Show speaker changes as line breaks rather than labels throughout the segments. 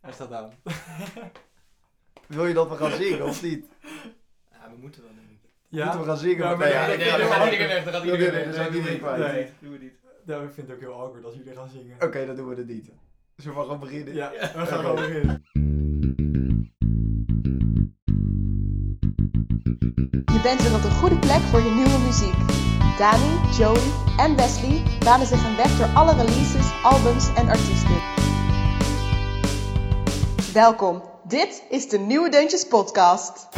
Hij staat aan.
Wil je dat we gaan zingen of niet?
Ja, we moeten wel, denk ik.
Moeten we gaan zingen?
Ja,
met-
maar-
Nee, ja,
nee,
nee,
nee, dan
nee, nee,
gaat
nee,
iedereen weg. Dan gaat
Nee,
iedereen
nee,
weg.
nee,
Dan
nee,
doen we
nee,
niet.
nee,
nee.
Nee, doen we niet.
Ja, Nou, ik vind het ook heel awkward als jullie gaan zingen.
Oké, dan doen we het niet. Zullen we gewoon beginnen?
Ja, we gaan
Oké.
gewoon beginnen.
Je bent weer op de goede plek voor je nieuwe muziek. Dani, Joey en Wesley banen zich een weg door alle releases, albums en artiesten. Welkom, dit is de Nieuwe Deuntjes Podcast.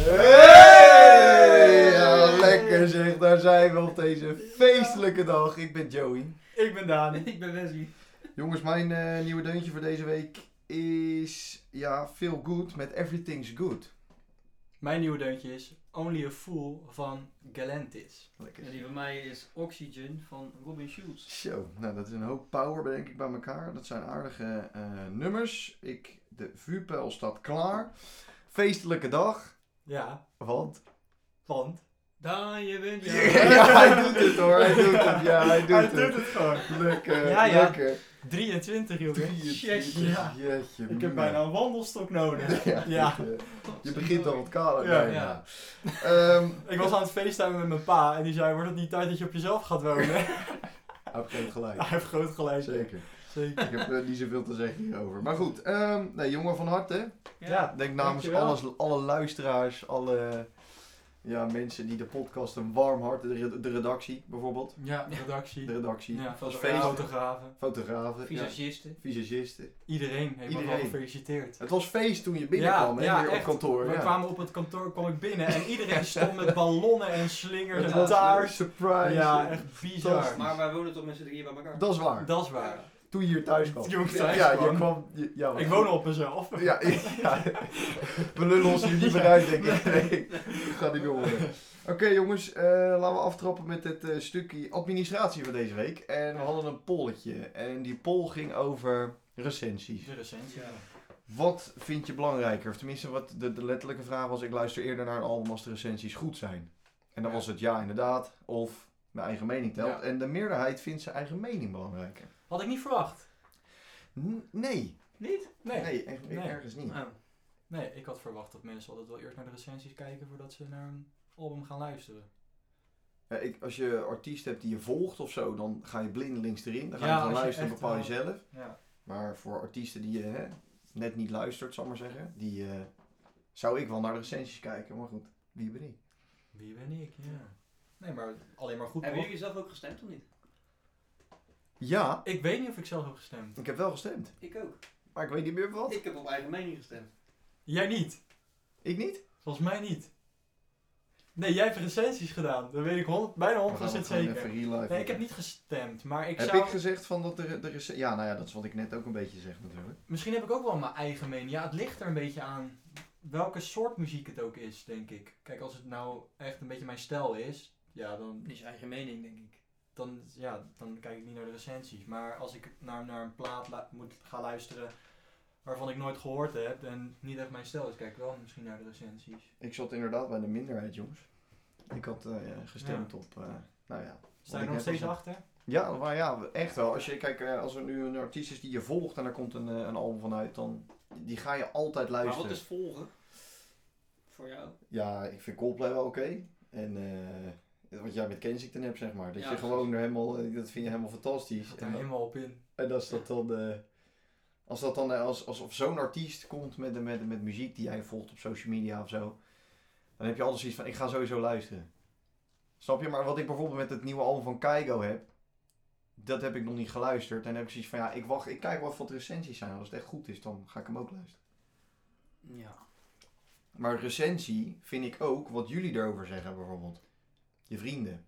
Hey! Ja, lekker zeg, daar zijn we op deze feestelijke dag. Ik ben Joey.
Ik ben Dani.
Ik ben Wesley.
Jongens, mijn eh, nieuwe deuntje voor deze week is ja, Feel Good met Everything's Good.
Mijn nieuwe deuntje is Only a Fool van Galantis.
En
Lekker.
die van mij is Oxygen van Robin Schulz.
Zo, nou dat is een hoop power denk ik bij elkaar. Dat zijn aardige eh, nummers. Ik, de vuurpijl staat klaar. Feestelijke dag,
Ja,
want...
want...
Dan je bent
Ja, hij doet het hoor, hij doet het. Ja, hij doet
Hij
het.
doet het gewoon.
Lekker,
Ja, ja.
lekker.
23 jongen.
Jeetje.
Ja.
Jeetje,
Ik heb
mina.
bijna een wandelstok nodig.
Ja.
Ja.
Je, je begint al wat kaler
Ja.
bijna. Ehm,
Ik was aan het feesten met mijn pa en die zei, wordt het niet tijd dat je op jezelf gaat wonen?
hij heeft geen gelijk.
Hij heeft groot gelijk.
Zeker.
Zeker.
Ik heb eh, niet zoveel te zeggen hierover. Maar goed, ehm, nee, jongen van harte.
Ja.
Ik denk namens
Dankjewel.
alles, alle luisteraars, alle ja, mensen die de podcast een warm hart, de, re- de redactie bijvoorbeeld.
Ja, redactie.
De redactie,
Ja,
Als
feest.
fotografen.
fotografen, ja,
Visagisten.
visagisten.
Iedereen heeft me
Iedereen.
al gefeliciteerd.
Het was feest toen je binnenkwam hè, hier op
echt.
kantoor.
We
ja.
kwamen op het kantoor, kwam ik binnen en iedereen stond met ballonnen en slingers
Het
en
was een
taart.
surprise.
Ja, echt bizar.
Fantastisch.
Maar wij wonen toch met z'n drieën bij elkaar?
Dat is waar.
Dat is waar.
Toen je hier thuis kwam.
Toen ik thuis
ja,
kwam.
Je kwam je- ja,
Ik woon op mezelf.
Ja, ja. we lullen ons hier niet meer uit, denk ik. Nee, gaat niet meer worden. Oké jongens, eh, laten we aftrappen met het eh, stukje administratie van deze week. En we hadden een polletje. En die poll ging over recensies.
De recensie.
Ja.
Wat vind je belangrijker? Of tenminste, wat de, de letterlijke vraag was, ik luister eerder naar een album als de recensies goed zijn. En dan was het ja inderdaad, of mijn eigen mening telt.
Ja.
En de meerderheid vindt zijn eigen mening belangrijker.
Had ik niet verwacht.
N- nee,
Niet?
Nee. nee.
nee, echt,
Nee.
ergens niet.
Ah.
ik had verwacht dat mensen altijd wel eerst naar de recensies kijken voordat ze naar een album gaan luisteren.
Ja, ik, als je artiest hebt die je volgt of zo, dan ga je blindelings erin. Dan ga
Ja,
je gaan
als je
luisteren en
echt
bepaal je
wel-
zelf.
Ja.
Maar voor artiesten die je hè, net niet luistert, zal ik maar zeggen, die eh, zou ik wel naar de recensies kijken. Maar goed, wie ben ik?
Wie ben ik? Ja. Nee, maar alleen maar goed.
Hebben
toch?
jullie zelf ook gestemd of niet?
Ja,
Ik weet niet of ik zelf heb gestemd.
ik heb wel gestemd.
Ik ook.
Maar ik weet niet meer wat.
Ik heb op eigen mening gestemd.
Jij niet.
Ik niet?
Volgens mij niet. Nee, jij hebt recensies gedaan. Dat weet ik honderd- bijna 100%
We gaan het gewoon
zeker.
even relive.
Nee, ik heb niet gestemd, maar ik
Heb
zou...
ik gezegd van dat de, de recensies... Ja, nou ja, dat is wat ik net ook een beetje zeg natuurlijk.
Misschien heb ik ook wel mijn eigen mening. Ja, het ligt er een beetje aan welke soort muziek het ook is, denk ik. Kijk, als het nou echt een beetje mijn stijl is, ja, dan,
is eigen mening, denk ik.
dan, ja, dan kijk ik niet naar de recensies. Maar als ik naar, naar een plaat lu- moet gaan luisteren waarvan ik nooit gehoord heb en niet echt mijn stijl is, kijk ik wel misschien naar de recensies.
Ik zat inderdaad bij de minderheid, jongens. Ik had eh, ja, gestemd op... eh, nou ja, Wat
Sta je
ik
er nog
net al
steeds
zei.
achter?
Ja, maar ja, echt wel. Als je kijkt, eh, als er nu een artiest is die je volgt en daar komt een, eh, een album van uit, dan die ga je altijd
Maar
luisteren.
wat is volgen? Voor jou?
Ja, ik vind Coldplay wel oké. En eh, wat jij met Kensington hebt, zeg maar. Dat
Ja,
je
precies.
gewoon er helemaal, eh, dat vind je helemaal fantastisch.
Ik
En,
ga er helemaal op in.
en als dat dan, eh, als dat dan, eh, als, alsof zo'n artiest komt met, met, met muziek die jij volgt op social media of zo, dan heb je altijd zoiets van, ik ga sowieso luisteren. Snap je? Maar wat ik bijvoorbeeld met het nieuwe album van Keigo heb, dat heb ik nog niet geluisterd. En dan heb ik zoiets van, ja, ik wacht, ik kijk wel wat de recensies zijn. Als het echt goed is, dan ga ik hem ook luisteren.
Ja.
Maar recensie vind ik ook wat jullie erover zeggen, bijvoorbeeld. Je vrienden.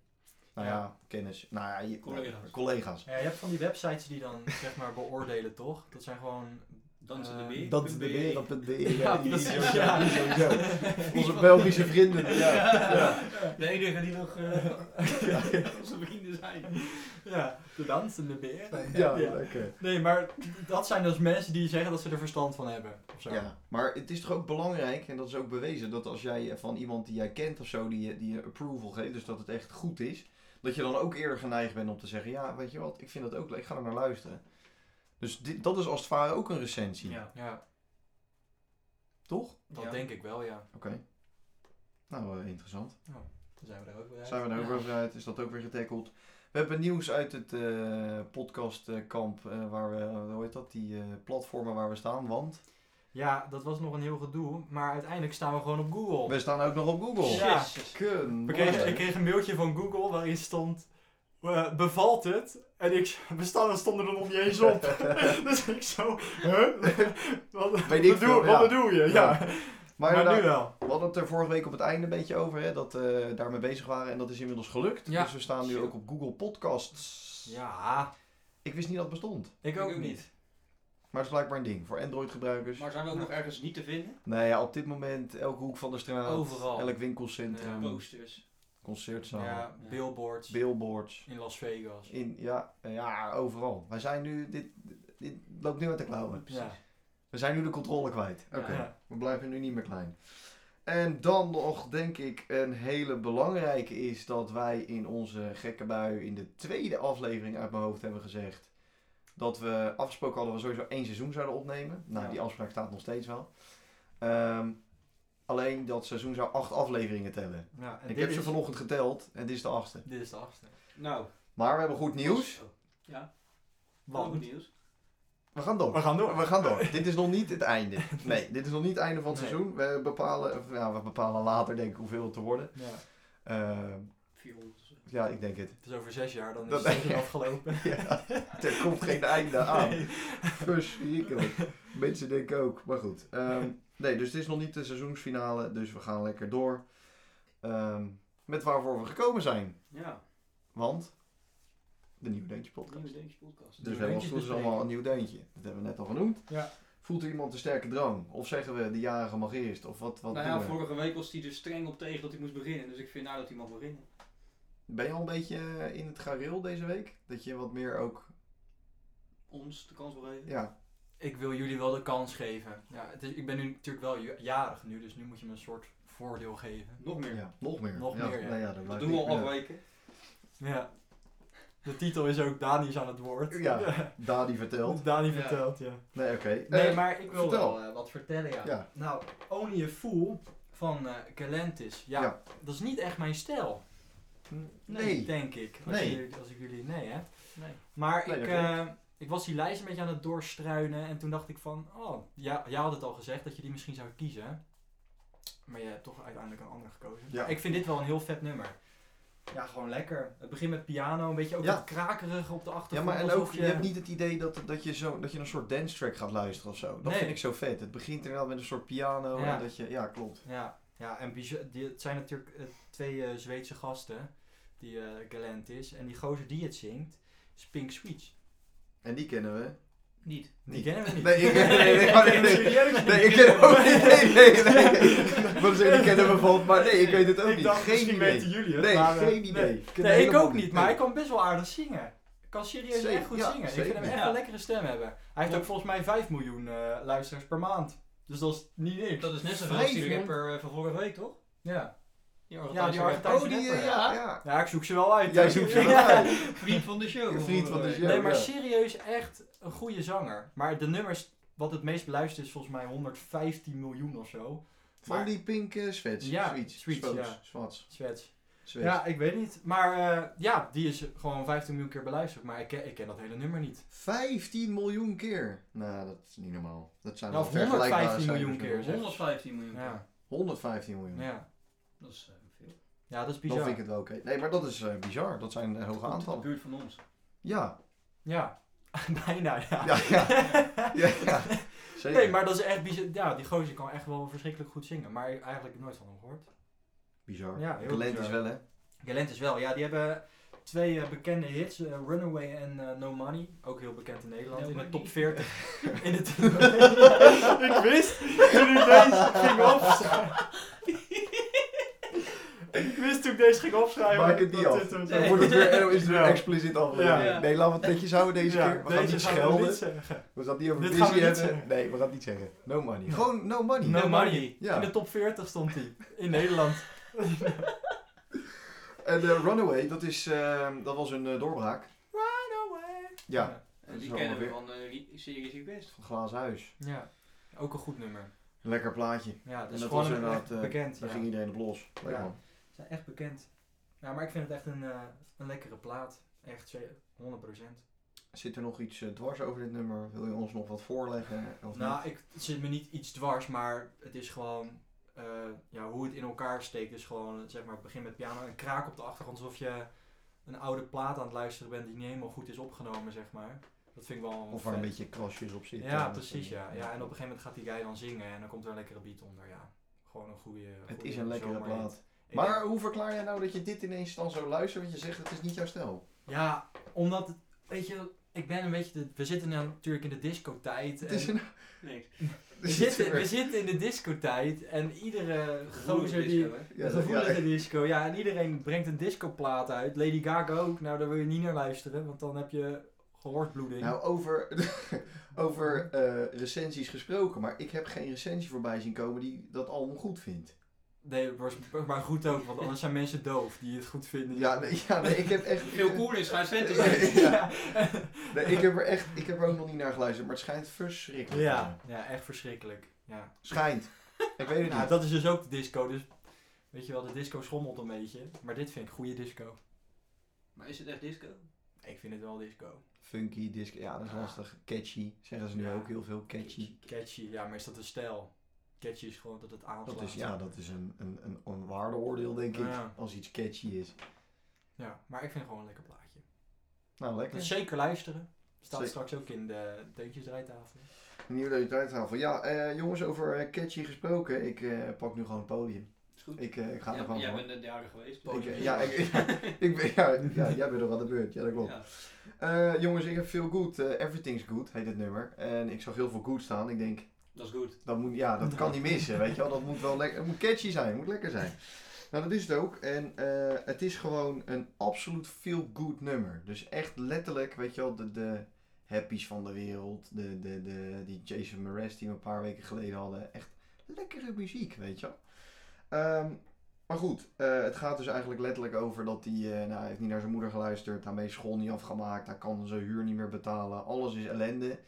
Nou ja, kennis. Nou ja, je
Collega's.
collega's.
Ja, je hebt van die websites die dan zeg maar beoordelen, toch? Dat zijn gewoon...
Dansen
Eh,
de beer.
Dat is de wereld.be.
Ja,
die
precies,
sowieso-
ja.
die sowieso. Onze Belgische vrienden. Ja. Ja.
De enige die nog eh, onze vrienden zijn.
eh, Ja, de dansende beren.
Ja, lekker.
Nee, maar dat zijn dus mensen die zeggen dat ze er verstand van hebben. Of zo.
Ja, maar het is toch ook belangrijk, en dat is ook bewezen, dat als jij eh, van iemand die jij kent of zo, die, je- die je approval geeft, dus dat het echt goed is, dat je dan ook eerder geneigd bent om te zeggen, ja, weet je wat, ik vind dat ook leuk, ik ga er naar luisteren. Dus dit, dat is als het ware ook een recensie,
Ja.
Ja,
toch?
dat
Ja.
denk ik wel, ja.
Oké. Nou, eh, interessant.
Dan zijn we er ook weer uit.
Zijn we er ook
Ja.
over uit? Is dat ook weer getackled? We hebben nieuws uit het eh, podcastkamp, eh, waar we, hoe heet dat, die eh, platformen waar we staan, want
Ja, dat was nog een heel gedoe, maar uiteindelijk staan we gewoon op Google.
we staan ook nog op Google.
Ja.
Jezus.
Kun.
Ik kreeg, ik kreeg een mailtje van Google waarin stond, eh, bevalt het? En ik, we staan- we stonden er nog niet eens op. dus ik zo, huh? Wat, wat,
Weet ik veel,
doe,
ja.
wat bedoel je? Ja.
Ja. Maar, nou-
Maar, nu
inderdaad,
wel.
we hadden het er vorige week op het einde een beetje over, hè, dat eh, we daarmee bezig waren en dat is inmiddels gelukt.
Ja.
Dus we staan nu
Zo.
ook op Google Podcasts.
Ja,
Ik wist niet dat het bestond,
ik ook niet.
maar het is blijkbaar een ding voor Android gebruikers.
Maar zijn we ook nog ergens niet te vinden?
Nou ja, op dit moment elke hoek van de straat,
Overal.
elk winkelcentrum,
Posters.
concertzaal,
Ja, billboards
billboards.
in Las Vegas.
In, ja, ja, overal. Wij zijn nu, dit, dit loopt nu uit de klauwen.
Ja.
We zijn nu de controle kwijt. Oké,
Ja.
we blijven nu niet meer klein. En dan nog, denk ik, een hele belangrijke is dat wij in onze gekke bui in de tweede aflevering uit mijn hoofd hebben gezegd dat we afgesproken hadden we sowieso één seizoen zouden opnemen. Nou,
Ja.
die afspraak staat nog steeds wel. Ehm, alleen dat seizoen zou acht afleveringen tellen.
Ja, en
ik
dit
heb ze
is-
vanochtend geteld en dit is de achtste.
Dit is de achtste.
Nou.
Maar we hebben goed nieuws.
Oh, Ja,
Want-
wat goed nieuws.
We gaan door.
We gaan door.
We gaan door. dit is nog niet het einde. Nee, dit is nog niet het einde van het
Nee.
seizoen. We bepalen, of, ja, we bepalen later denk ik hoeveel het te worden.
Ja.
Eh,
400. of zo.
ja, ik denk het.
Het is over zes jaar, dan is
Dat-
het seizoen afgelopen.
Ja, er komt geen einde aan. Verschrikkelijk. Mensen denken ook, maar goed. Ehm, nee, dus het is nog niet de seizoensfinale, dus we gaan lekker door. Ehm, met waarvoor we gekomen zijn.
Ja,
Want de Nieuw Deentje podcast.
nieuwe Deentjes podcast.
Dus
Nieuwe
we hebben als het goed is
Deuntjes
allemaal een nieuw deuntje. Dat hebben we net al genoemd.
Ja.
Voelt er iemand een sterke drang? Of zeggen we de jarige mag eerst? Of wat, wat
nou
doen
ja,
we?
vorige week was hij er streng op tegen dat hij moest beginnen. Dus ik vind nou dat hij mag beginnen.
Ben je al een beetje eh, in het gareel deze week? Dat je wat meer ook...
Ons de kans wil geven.
Ja,
Ik wil jullie wel de kans geven. Ja, het is, ik ben nu natuurlijk wel ju- jarig nu, dus nu moet je me een soort voordeel geven.
Nog meer.
ja nog meer.
Nog
ja,
meer, ja.
nou ja,
Dat
blijft
doen we
niet
al
meer.
afweken.
Ja. De titel is ook Dani is aan het woord.
Ja, Dadi vertelt.
Dani
Ja.
vertelt, ja.
Nee, oké.
Nee,
Eh,
maar ik wil
vertel.
wel eh, wat vertellen, ja.
Ja.
Nou, Only a Fool van eh Galantis. Ja,
Ja.
dat is niet echt mijn stijl,
Nee.
denk ik. Als,
Nee.
jullie- als ik jullie... Nee, hè?
Nee.
Maar
Nee,
ik,
dat
eh, ik was die lijst een beetje aan het doorstruinen en toen dacht ik van, oh, ja, jij had het al gezegd dat je die misschien zou kiezen. Maar je hebt toch uiteindelijk een ander gekozen.
Ja.
Ik vind dit wel een heel vet nummer. Ja, gewoon lekker. Het begint met piano, een beetje ook
Ja.
dat krakerige op de
Ja,
achtergrond.
maar en
alsof
ook, je hebt niet het idee dat, dat, je zo, dat je een soort dance track gaat luisteren of zo. Dat
Nee.
vind ik zo vet. Het begint inderdaad met een soort piano
Ja.
en dat je... Ja, klopt.
Ja, ja en bizar- die, het zijn natuurlijk eh, twee eh, Zweedse gasten, die eh, Galent is. En die gozer die het zingt, is Pink Switch.
En die kennen we.
Niet.
Die kennen we niet.
Nee, ik- nee, nee, nee, maar nee, nee.
serieus niet.
Nee, ik ken hem ook niet. Nee, nee, nee. Ik wil zeggen, die kennen we van, maar nee, ik weet het ook niet.
dacht,
Geen
misschien
idee.
weten jullie het.
Nee,
maar, eh,
geen idee.
nee.
Ik ken
Nee, ik
helemaal
ook niet, maar
Nee.
ik kan best wel aardig zingen. Ik kan serieus
Zeker,
echt goed
ja,
zingen. Ik
zeker.
vind hem echt
Ja.
een lekkere stem hebben. Hij heeft ook volgens mij 5 miljoen eh, luisteraars per maand. Dus dat is niet niks.
Dat is net
zoveel
zoals
als die
die
Vijf,
rapper van vorige week, toch?
Ja.
Ja,
die
die
Argentijnse
Argentijn.
Oh, die, eh,
rapper,
ja,
ja.
ja.
ja, ik zoek ze wel uit.
Jij zoekt ze wel
Ja.
uit.
Vriend van de show.
Een vriend van de show.
Nee, maar
ja.
serieus echt een goede zanger. Maar de nummers, wat het meest beluisterd is, volgens mij 115 miljoen of zo.
Van die pink eh, zwets.
Ja,
Zwiets.
Zwiets,
Spooks.
ja.
Zwats.
Zwets.
Zwets.
Ja, ik weet niet. Maar eh, ja, die is gewoon 15 miljoen keer beluisterd. Maar ik ken, ik ken dat hele nummer niet.
15 miljoen keer. Nou, dat is niet normaal. Dat zijn
Ja,
wel
of
vergelijkbare cijfers
115 Nou, miljoen
met
keer, zeg.
115 miljoen.
Ja,
115 miljoen.
ja.
Dat is eh, veel.
ja dat is
Dan
bizar.
vind ik het wel oké. Nee, maar dat is eh, bizar. Dat zijn eh, hoge
De
aantallen.
buurt van ons.
Ja.
Ja, bijna ja.
Ja, ja. ja, ja. Zeker.
Nee, maar dat is echt bizar. Ja, die gozer kan echt wel verschrikkelijk goed zingen. Maar eigenlijk nooit van hem gehoord.
Bizar.
Ja, heel
Talent
bizar.
is wel, hè.
Galent is wel. Ja, die hebben twee eh, bekende hits. eh, Runaway en eh, No Money. Ook heel bekend in Nederland.
No
in de
Money.
top 40. in de top- ik wist toen ik deze ging opschrijven. ik wist toen ik deze ging opschrijven.
Maak het niet
dat
af.
dit hem
Dan
zou-
wordt het weer, eh, is het weer
Ja.
expliciet aflevering.
Ja.
Nee, laten we het netjes houden deze
Ja,
keer. We gaan niet
gaan we
schelden.
niet zeggen.
We gaan het niet over
Dit
visie
gaan we niet
hebben.
zeggen.
Nee, we gaan het niet zeggen. No money.
Ja.
Gewoon no money.
No Money.
Ja.
In de top 40 stond hij. In Nederland.
ehm, En eh, Runaway, dat, is, eh, dat was een eh, doorbraak.
Runaway.
Ja. Dat is
die
wel
kennen we
weer-
van eh, Re- Series Request.
Van Glazen Huis.
Ja, ook een goed nummer.
Lekker plaatje.
Ja, dat
En
is
dat
gewoon
was
een-
inderdaad,
echt
eh,
bekend.
Daar
ja.
ging iedereen op los. Leuk
Ja.
man.
Ze zijn echt bekend. Ja, maar ik vind het echt een, eh, een lekkere plaat. Echt ze- 100%.
Zit er nog iets eh, dwars over dit nummer? Wil je ons nog wat voorleggen? Of niet?
Nou, ik, het zit me niet iets dwars, maar het is gewoon eh, ja, hoe het in elkaar steekt. Dus gewoon, zeg maar, het begin met piano en kraak op de achtergrond. Alsof je een oude plaat aan het luisteren bent die niet helemaal goed is opgenomen, zeg maar. Dat vind ik wel
Of waar een
vet.
beetje krasjes op zitten.
eh,
eh,
Ja,
Dat
precies
soort
ja.
dingen.
ja. En op een gegeven moment gaat die guy dan zingen en dan komt er een lekkere beat onder. Ja, gewoon een goede.
Het
goede
is een lekkere
zomerhit.
plaat.
Ik
Maar hoe verklaar jij nou dat je dit ineens dan zo luistert? Want je zegt het is niet jouw stijl.
Ja, omdat, het- weet je, ik ben een beetje, de, we zitten nou natuurlijk in de discotijd.
Het
en
is een...
Niks.
we, zitten, we zitten in de discotijd en iedere gozer die...
Disco, hè?
Ja, dat-
gevoelige
ja.
disco, ja. En iedereen brengt een discoplaat uit. Lady Gaga ook. Nou, daar wil je niet naar luisteren, want dan heb je gehoortbloeding.
Nou, over, over eh, recensies gesproken, maar ik heb geen recensie voorbij zien komen die dat album goed vindt.
Nee, het was- maar goed ook, want anders zijn mensen doof die het goed vinden.
Ja, nee, ja, nee ik heb echt...
Veel cooler is gaan Sven te zijn.
ja. nee, ik heb er echt, ik heb er ook nog niet naar geluisterd, maar het schijnt verschrikkelijk. te
Ja,
zijn.
ja, echt verschrikkelijk. Ja.
Schijnt. Ik eh, weet het
Nou,
niet.
dat is dus ook de disco. Dus weet je wel, de disco schommelt een beetje. Maar dit vind ik goede disco.
Maar is het echt disco?
Ik vind het wel disco.
Funky, disc, ja, dat is lastig. Catchy, zeggen ze nu
Ja.
ook heel veel. Catchy.
Catchy, ja, maar is dat een stijl? Catchy is gewoon dat het aanslaat.
Dat is, ja, dat is een, een, een, een waardeoordeel, denk ik,
Ja.
als iets catchy is.
Ja, maar ik vind het gewoon een lekker plaatje.
Nou,
Dus
lekker.
zeker luisteren. Staat
Zeker.
straks ook in de deuntjesdraaitafel.
Een nieuwe leeftijdshaven. Ja, eh, jongens, over eh, catchy gesproken. Ik eh, pak nu gewoon het podium.
Is goed.
Ik, eh, ik ga
Ja,
ervan
Jij
voor.
bent de derde geweest.
Ik, eh, ja, ik, ik ben, ja, ja, jij bent er aan de beurt. Ja, dat klopt.
Ja.
Eh, jongens, ik heb veel good. eh, Everything's good heet het nummer. En ik zag heel veel good staan. Ik denk,
Dat is goed.
Dat, moet, ja, dat kan niet missen, weet je wel. Dat moet wel lekker, het moet catchy zijn, het moet lekker zijn. Nou, dat is het ook. En eh, het is gewoon een absoluut feel-good nummer. Dus echt letterlijk, weet je wel, de, de happies van de wereld, de, de, de, die Jason Mraz die we een paar weken geleden hadden. Echt lekkere muziek, weet je wel. Ehm, maar goed, eh, het gaat dus eigenlijk letterlijk over dat hij, eh, nou, hij heeft niet naar zijn moeder geluisterd, daarmee is school niet afgemaakt, hij kan zijn huur niet meer betalen, alles is ellende.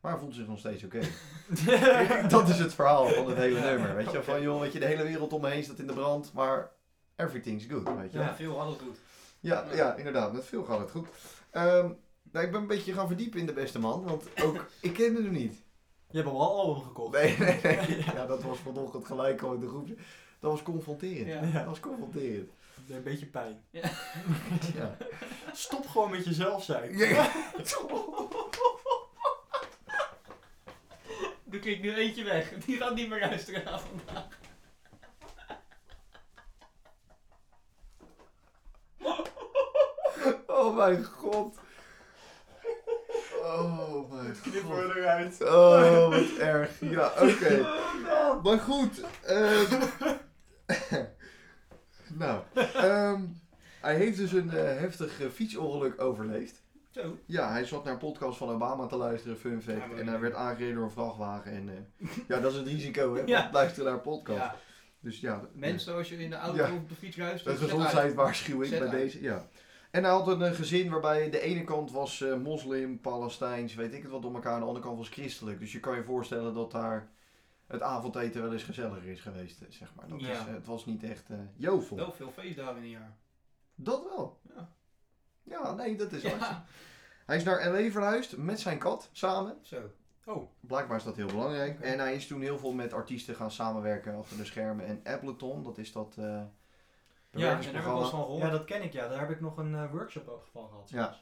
Maar hij voelt zich nog steeds oké. dat is het verhaal van het hele nummer. Weet je, van joh, weet je, de hele wereld om me heen staat in de brand, maar everything's good, weet je.
Ja.
Ja. Veel had het goed.
Ja, ja, inderdaad, met veel gaat het goed. Ehm, nou, ik ben een beetje gaan verdiepen in de beste man, want ook ik kende hem niet.
Je hebt al wel een album gekocht.
Oh, Nee, nee, nee. Ja, dat was vanochtend gelijk al in de groep. Dat was
Ja.
confronterend. Dat was confronterend.
Een beetje pijn.
Ja.
Stop gewoon met jezelf zijn.
Ja.
Er klinkt nu eentje weg. Die gaat niet meer luisteren na vandaag.
Oh mijn god. Oh mijn god.
eruit.
Oh, wat erg. Ja, oké.
Oh,
Maar goed. ehm, nou, ehm, hij heeft dus een eh, heftig eh, fietsongeluk overleefd.
Zo.
Ja, hij zat naar een podcast van Obama te luisteren, fun fact.
Ja, maar-
en hij werd aangereden door een vrachtwagen. En eh, ja, dat is het risico, hè?
Ja.
want Luisteren naar een podcast.
Ja.
Dus ja,
Mensen, als je in de auto
Ja.
of op de fiets luistert.
een
zet uit.
gezondheidswaarschuwing
Zet
bij
uit.
deze. Ja. En hij had een eh, gezin waarbij de ene kant was eh, moslim, Palestijns, weet ik het wat om elkaar. En de andere kant was christelijk. Dus je kan je voorstellen dat daar het avondeten wel eens gezelliger is geweest, eh, zeg maar. Dat
Ja.
is, eh, het was niet echt eh jovel.
Wel veel feestdagen in een jaar.
Dat wel.
Ja.
Ja, nee, dat is
Ja.
waar. Hij is naar L.A. verhuisd met zijn kat, samen.
Zo.
Blijkbaar is dat heel belangrijk.
Oké.
En hij is toen heel veel met artiesten gaan samenwerken achter de schermen. En Appleton, dat is dat eh
Ja, en daar hebben we
bewerkingsprogramma.
wel eens van gehoord.
Ja, Oh, dat ken ik ja. Daar heb ik nog een eh, workshop ook van gehad.
Ja.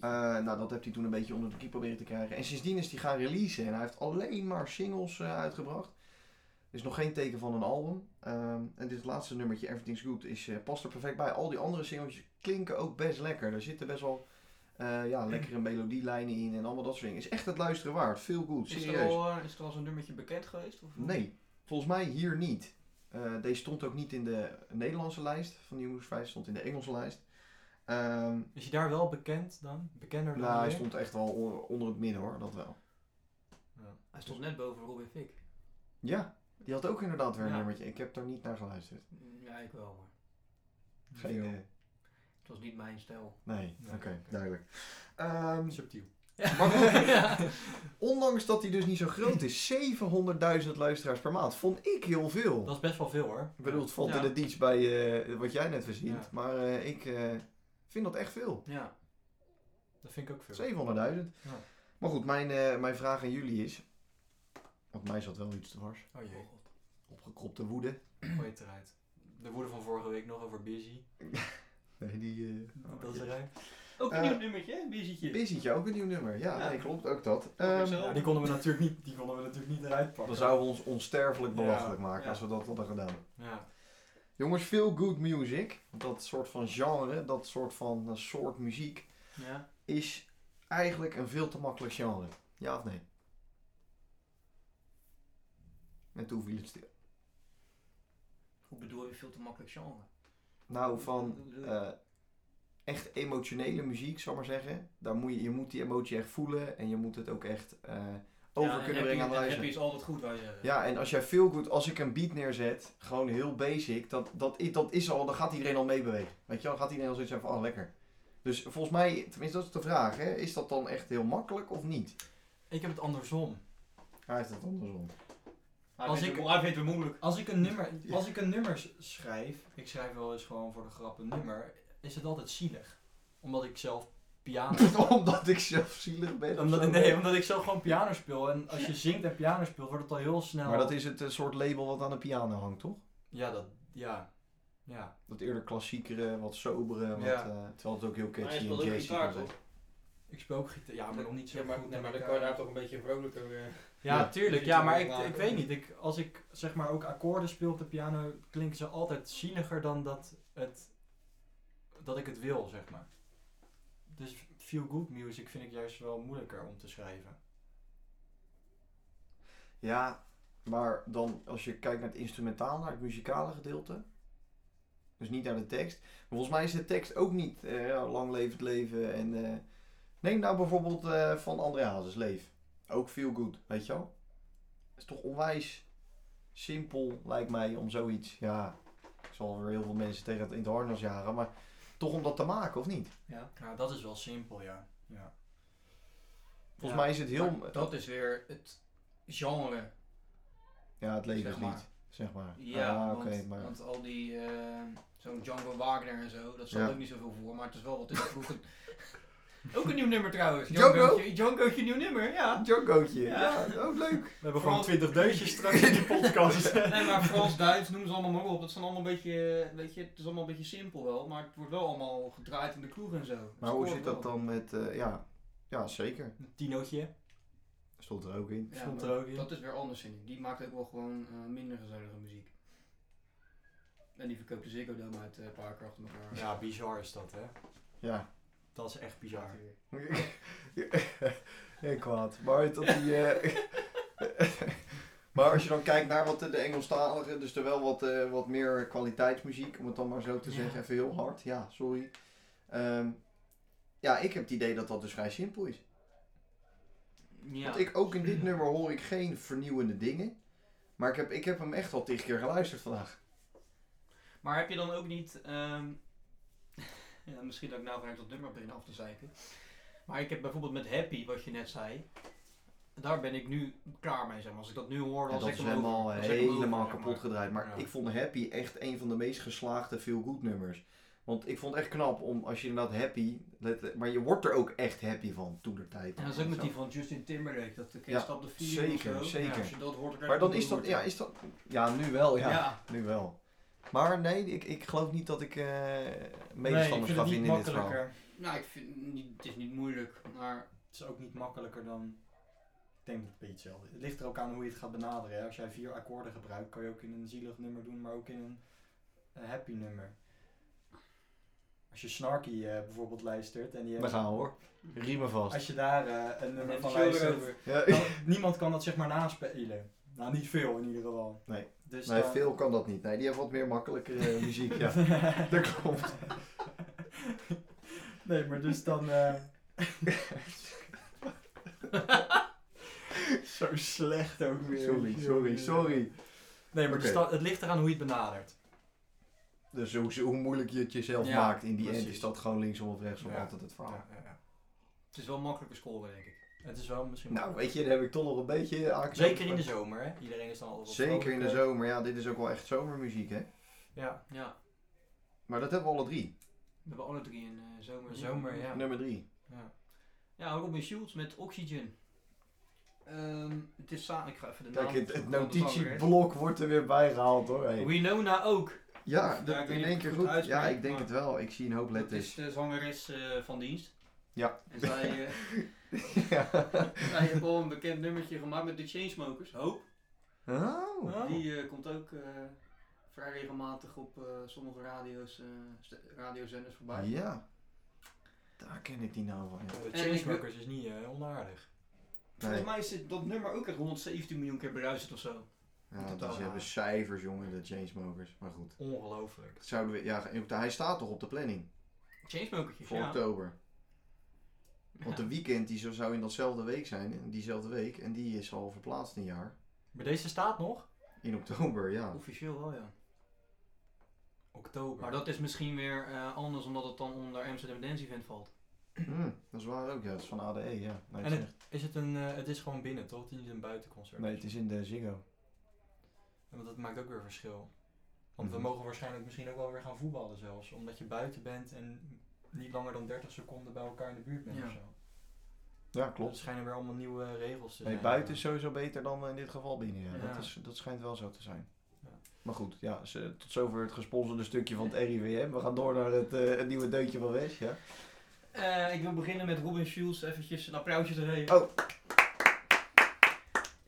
Eh, nou, dat heeft hij toen een beetje onder de knie proberen te krijgen. En sindsdien is hij gaan releasen. En hij heeft alleen maar singles eh, uitgebracht. Er is nog geen teken van een album. Ehm, en dit laatste nummertje, Everything's Good, is, eh, past er perfect bij. Al die andere singles klinken ook best lekker. Daar zitten best wel eh, ja, lekkere melodielijnen in en allemaal dat soort dingen. Is echt het luisteren waard. Veel goed,
Is er,
serieus.
al, eh, is er al zo'n nummertje bekend geweest? Of?
Nee, volgens mij hier niet. Eh, deze stond ook niet in de Nederlandse lijst van Nieuw Moves 5. Stond in de Engelse lijst. Ehm
Is je daar wel bekend dan? Bekender dan
nou, hij
hier?
stond echt wel on- onder het midden hoor, dat wel.
Ja.
Hij stond net boven Robin Fick.
Ja, die had ook inderdaad weer een
Ja.
nummertje. Ik heb daar niet naar geluisterd.
Mm, Ja, ik wel, maar
Geen,
Veel.
eh,
het was niet mijn stijl.
nee, oké,
Nee, oké.
duidelijk. Ehm,
Subtiel.
Maar ondanks dat hij dus niet zo groot is, 700.000 luisteraars per maand vond ik heel veel.
Dat is best wel veel hoor.
Ik bedoel, het valt
Ja.
in de diets bij eh, wat jij net verzint,
Ja.
maar eh, ik eh, vind dat echt veel.
Ja. Dat vind ik ook veel.
700.000.
Ja.
Maar goed, mijn, eh, mijn vraag aan jullie is, want mij zat wel iets dwars,
Oh jee,
opgekropte woede.
gooi het eruit. De woede van vorige week nog over Busy.
Nee, die... eh, oh,
dat is
ja.
eruit.
Ook een
Eh,
nieuw nummertje, hè? Busietje.
Busytje, ook een nieuw nummer. Ja,
Ja.
nee, klopt, ook dat.
Voor
Ehm,
mezelf.
Ja, die konden we natuurlijk niet, die konden we natuurlijk niet eruit pakken.
dan zouden we ons onsterfelijk
Ja,
belachelijk maken
ja.
als we dat hadden gedaan.
Ja.
Jongens, veel good music. Dat soort van genre, dat soort van eh, soort muziek
Ja.
is eigenlijk een veel te makkelijk genre. Ja of nee? En toen viel het stil.
Hoe bedoel je veel te makkelijk genre?
Nou, van eh, echt emotionele muziek, zal ik maar zeggen. Daar moet je, je moet die emotie echt voelen en je moet het ook echt eh, over kunnen brengen aan
Happy
de luisteraar.
is altijd goed, wij zeggen.
Ja, en als jij veel goed, als ik een beat neerzet, gewoon heel basic, dat, dat, i- dat is al, dan gaat iedereen al meebewegen. Weet je wel, dan gaat iedereen al zoiets hebben van, oh lekker. Dus volgens mij, tenminste dat is de vraag, hè, is dat dan echt heel makkelijk of niet?
Ik heb het andersom.
Hij heeft het andersom.
Hij
Als
vindt
ik-
het- hij vindt het moeilijk.
Als ik een nummer, als ik een nummer s- schrijf, ik schrijf wel eens gewoon voor de grap een nummer, is het altijd zielig. Omdat ik zelf piano
Omdat ik zelf zielig ben. of
Ah. omdat,
zo.
nee, omdat ik zelf gewoon piano speel. En als je zingt en piano speelt, wordt het al heel snel.
Maar dat is het eh, soort label wat aan de piano hangt, toch?
Ja, dat. Ja. Ja.
Dat eerder klassiekere, wat sobere, wat,
Ja.
eh, terwijl het ook heel
Maar hij
catchy en
speelt ook
jazzy
gitaar,
kan
toch?
zijn.
Ik speel ook gitaar. Ja, maar nog niet zo
Ja, maar,
goed.
nee,
met
maar dan kan je
elkaar.
daar toch een beetje vrolijker weer.
Ja,
Ja.
tuurlijk.
Dus
Ja,
je
maar
moet
ik,
maken.
ik weet niet. Ik, als ik zeg maar ook akkoorden speel op de piano, klinken ze altijd zieliger dan dat, het, dat ik het wil, zeg maar. Dus feel good music vind ik juist wel moeilijker om te schrijven.
Ja, maar dan als je kijkt naar het instrumentaal, naar het muzikale gedeelte. Dus niet naar de tekst. Maar volgens mij is de tekst ook niet eh, ja, lang levend leven. En, eh, neem nou bijvoorbeeld eh, van André Hazes, Leef. Ook feel good, weet je wel? is toch onwijs simpel, lijkt mij, om zoiets. Ja, ik zal weer heel veel mensen tegen het in het harnas jagen, maar toch om dat te maken, of niet?
Ja.
Nou, dat is wel simpel, ja. ja.
Volgens mij is het heel...
Dat is weer het genre.
ja, het
zeg
levenslied,
maar.
zeg maar.
Ja,
Ah,
want,
oké, maar...
want al die, eh, zo'n Django Wagner en zo, dat stond
Ja.
ook niet zoveel voor, maar het is wel wat in de vroeg. ook een nieuw nummer trouwens.
Django?
Djangootje- Djangootje, nieuw nummer, ja.
Djangootje,
Ja.
ja, ook leuk.
We hebben
gewoon
twintig deutjes straks in de podcast.
Nee, maar Frans, Duits, noem ze allemaal maar op. Dat zijn allemaal een beetje, eh, weet je, het is allemaal een beetje simpel wel, maar het wordt wel allemaal gedraaid in de kroeg en zo. Het
Maar hoe
scoort
zit dat
wel.
dan met, eh, ja, ja, zeker.
Een tinootje.
Stond er ook in.
Ja,
Stond
maar
er ook in.
Dat is weer anders in. Die maakt ook wel gewoon eh, minder gezellige muziek. En die verkoopt de Ziggo Dome uit eh, een paar keer achter elkaar.
Ja, bizar is dat, hè.
Ja.
Dat is echt bizar.
eh,
Heel kwaad. Maar dat die... eh, maar als je dan kijkt naar wat de de Engelstalige, dus er wel wat, eh, wat meer kwaliteitsmuziek, om het dan maar zo te
Ja.
zeggen, even heel hard. Ja, sorry. Ehm, ja, ik heb het idee dat dat dus vrij simpel is.
Ja.
Want ik, ook in dit nummer hoor ik geen vernieuwende dingen. Maar ik heb, ik heb hem echt al tig keer geluisterd vandaag.
Maar heb je dan ook niet. ehm, ja, misschien dat ik nou vanuit dat nummer begin af te zeiken. Maar ik heb bijvoorbeeld met Happy, wat je net zei. Daar ben ik nu klaar mee, zeg maar. Als ik dat nu hoor,
En
dan
dat
zeg
is
ik hem
helemaal,
over. Dan zeg ik hem over,
helemaal
zeg maar.
kapot gedraaid. Maar
Ja.
ik vond Happy echt een van de meest geslaagde feel-good nummers. Want ik vond het echt knap om, als je inderdaad happy... let- maar je wordt er ook echt happy van, toen de tijd.
En dat is ook met die van Justin Timberlake, dat de kind
Ja,
stap de vier
Zeker,
of zo.
Ja,
zeker.
Als je dat hoort, dan krijg
maar
je
dan is dat,
ontroerd.
ja, is dat... Ja, nu wel, ja.
ja.
Nu wel. Maar nee, ik, ik geloof niet dat ik eh
Nee, ik
medestanders
vind
ga
het niet
vinden in dit verhaal.
makkelijker.
Nou, ik vind niet, het is niet moeilijk, maar
Het is ook niet makkelijker dan. Ik denk dat het een beetje hetzelfde is. Het ligt er ook aan hoe je het gaat benaderen. Hè? Als jij vier akkoorden gebruikt, kan je ook in een zielig nummer doen, maar ook in een eh, happy nummer. Als je Snarky eh, bijvoorbeeld luistert en die
We
heeft,
gaan we, hoor. Riemen vast.
als je daar eh, een
dan
nummer
heb
van
je het
luistert,
over.
Ja,
dan, niemand kan dat zeg maar naspelen. Nou, niet veel in ieder geval.
Nee.
Dus
nee,
dan-
veel kan dat niet. Nee, die hebben wat meer makkelijkere eh, muziek, ja. Dat klopt.
Nee, maar dus dan. eh, Zo slecht ook weer.
Sorry, sorry, sorry.
Nee, maar
Oké.
dus dat- het ligt eraan hoe je het benadert.
Dus hoe, hoe moeilijk je het jezelf
Ja,
maakt in die
precies.
end is dat gewoon linksom of rechtsom
Ja.
altijd het verhaal.
Ja, ja, ja.
Het is wel makkelijker scoren, denk ik.
Het is wel misschien...
Nou, weet je, daar heb ik toch nog een beetje aan.
Zeker in de zomer, hè? Iedereen is dan al wat
Zeker in de
vrolijker.
zomer, ja, dit is ook wel echt zomermuziek, hè?
Ja,
Ja,
Maar dat hebben we alle drie.
we hebben alle drie een eh, zomer.
zomer, ja.
Nummer drie.
ja.
Ja, Robin Schulz met Oxygen. Ehm, het is samen, ik ga even de
Kijk,
naam
het, het
zoeken, want het is alweer-
notitieblok wordt er weer bij gehaald hoor. hey.
Winona ook.
Ja,
Ja,
dat
ik weet
in
niet
één
of ik
keer
het
goed.
uitspreek,
ja, ik denk
maar-
het wel. Ik zie een hoop
Dat
letters.
is de zangeres eh, van dienst.
Ja.
En zij, eh,
Ja.
zij heeft al een bekend nummertje gemaakt met de Chainsmokers. Hoop.
Oh.
Oh.
Die eh, komt ook eh, vrij regelmatig op eh, sommige radio's, eh, st- radiozenders voorbij.
Ja. Daar ken ik die nou van. ja.
De
ik-
Chainsmokers is niet eh, onaardig.
Nee.
Volgens mij is dit- dat nummer ook echt 117 miljoen keer beluisterd of zo.
Ja,
Totaal
dus ze
raar.
hebben cijfers, jongen, de Chainsmokers. Maar goed.
Ongelooflijk.
Dat zouden we, ja, hij staat toch op de planning
Chainsmokertjes,
voor
ja.
oktober. Want
Ja.
de weekend die zou- zou in datzelfde week zijn, in diezelfde week. En die is al verplaatst een jaar.
Maar deze staat nog?
In oktober, ja.
Officieel wel, ja.
Oktober.
Maar dat is misschien weer eh, anders omdat het dan onder Amsterdam Dance Event valt.
Hm, dat is waar ook, ja. Dat is van ADE, ja. Nou, ik
En
zeg-
Is het, een, eh, het is gewoon binnen, toch? Het is niet een buitenconcert.
Nee, het is in de Ziggo.
Want dat maakt ook weer verschil. Want we
Mhm.
mogen waarschijnlijk misschien ook wel weer gaan voetballen zelfs. Omdat je buiten bent en niet langer dan 30 seconden bij elkaar in de buurt bent
Ja.
of zo.
Ja,
Er schijnen weer allemaal nieuwe eh, regels te
Nee,
zijn.
buiten is sowieso beter dan eh, in dit geval binnen. Ja.
Ja.
Dat, is, dat schijnt wel zo te zijn.
Ja.
Maar goed, ja, ze- tot zover het gesponsorde stukje van het RIWM. We gaan door naar het, eh, het nieuwe deuntje van Wes. Ja.
Eh, ik wil beginnen met Robin Schulz. Eventjes een applausje te geven.
Oh.